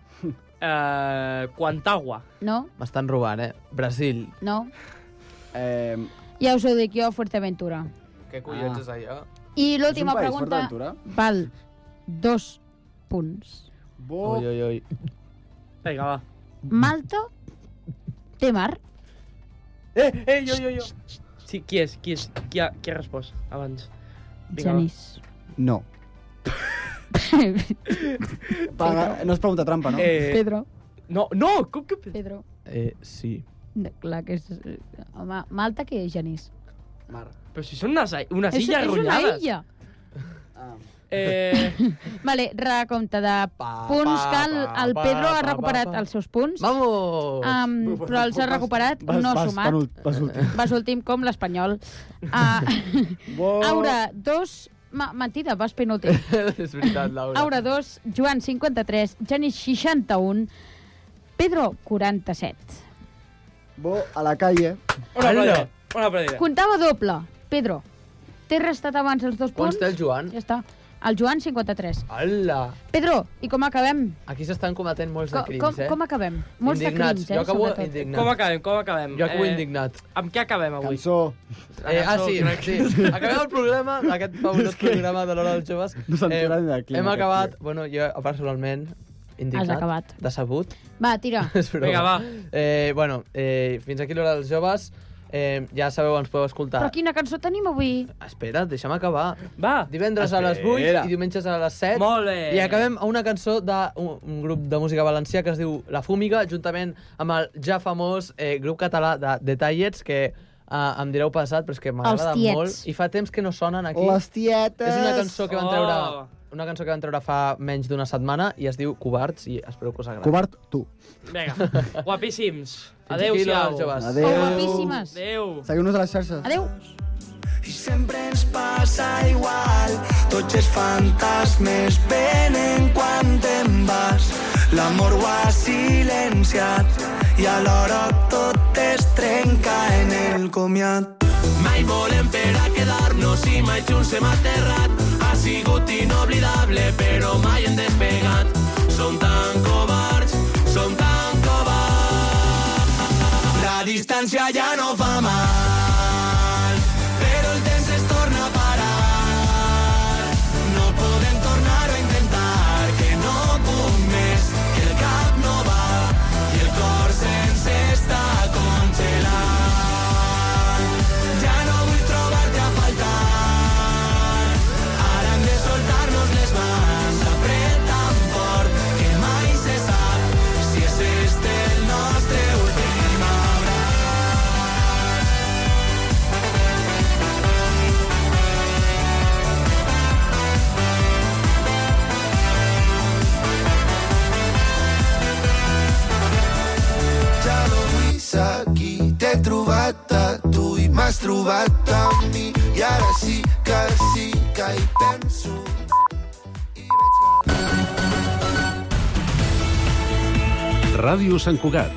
Eh, Quantagua. no, M'estan robant, eh? Brasil. no. Eh, Ja us ho dic jo, Fuerteventura. Què collons és allò? I l'última és un país, pregunta Fuerteventura? val dos punts. bo... Ui, ui, ui. Vinga, va. Malta té mar? Eh, eh, jo, jo, jo. Sí, qui és? Qui és? Qui ha, qui ha respost abans? Vinga, va. Genís. No. Paga, no es pregunta trampa, no? Eh. Eh, Pedro, no, no, com que... Pedro. Eh, sí. No, clar que és... Home, Malta què és, Genís? Però si són unes, ai- unes és, illes és una arruïnades. illa. Eh, Vale, recompte de Pa, punts pa, que el, pa, el pa, Pedro ha pa, pa, recuperat pa. els seus punts. Vamos! Um, però els ha recuperat, Vas, no vas, sumat. penult- vas últim. Vas últim com l'Espanyol. Uh, Bo... Aura, dos... Ma, mentida, vas penúltim. és veritat, Laura. Aura, dos, Joan, 53, Genís, 61, Pedro, 47. Bo a la calle. una Ara. pradera, una pradera. Comptava doble. Pedro, t'he restat abans els dos punts. Quants té el Joan? Ja està. El Joan, 53. Hola! Pedro, i com acabem? Aquí s'estan cometent molts de Co crims, com, eh? com acabem? Molts de Indignats. crims, eh, Jo acabo sobretot. indignat. Com acabem, com acabem? Eh, Jo acabo indignat. Amb què acabem avui? Cançó. La Eh, ah, cançó, sí, crec. sí. Acabem el programa, aquest fabulós programa de l'Hora dels Joves. No se'n Eh, tira ni de aquí, Hem aquest acabat, bueno, jo personalment, indignat. Has acabat. Decebut. Va, tira. És broma. Vinga, va. Eh, bueno, eh, fins aquí l'Hora dels Joves. Eh, ja sabeu, ens podeu escoltar. Però quina cançó tenim avui? Espera, deixa'm acabar. Va, Divendres a les 8 Espera. i diumenges a les 7. Molt bé. I acabem amb una cançó d'un un grup de música valencià que es diu La Fúmiga, juntament amb el ja famós eh, grup català de The Tallets, que eh, em direu passat, però és que m'agrada tiets. molt. I fa temps que no sonen aquí. Les tietes. És una cançó que van Oh. treure... Una cançó que van treure fa menys d'una setmana i es diu Covards i espero que us agradi. Covard, tu. Vinga, guapíssims. Fins aquí, Adéu-siau. les joves. Adéu. Oh, guapíssimes. Adéu. Seguiu-nos a les xarxes. Adéu. I sempre ens passa igual, tots els fantasmes venen quan te'n vas. L'amor ho ha silenciat i alhora tot es trenca en el comiat. Mai volem per a quedar-nos i mai junts hem aterrat. Així sigut inoblidable, però mai hem despegat. Som tan covards, som tan covards. La distància ja no fa mal, però el temps es torna a parar. No podem tornar-ho a intentar, que no puc més, que el cap no va i el cor sense està congelat. Ja no vull trobar-te a faltar, ara hem de soltar-nos les mans, apret tan fort que mai se sap si és este el nostre últim abraç. ja no vull ser aquí. T'he trobat a tu i m'has trobat a mi. I ara sí que sí que hi penso. Ràdio Sant Cugat,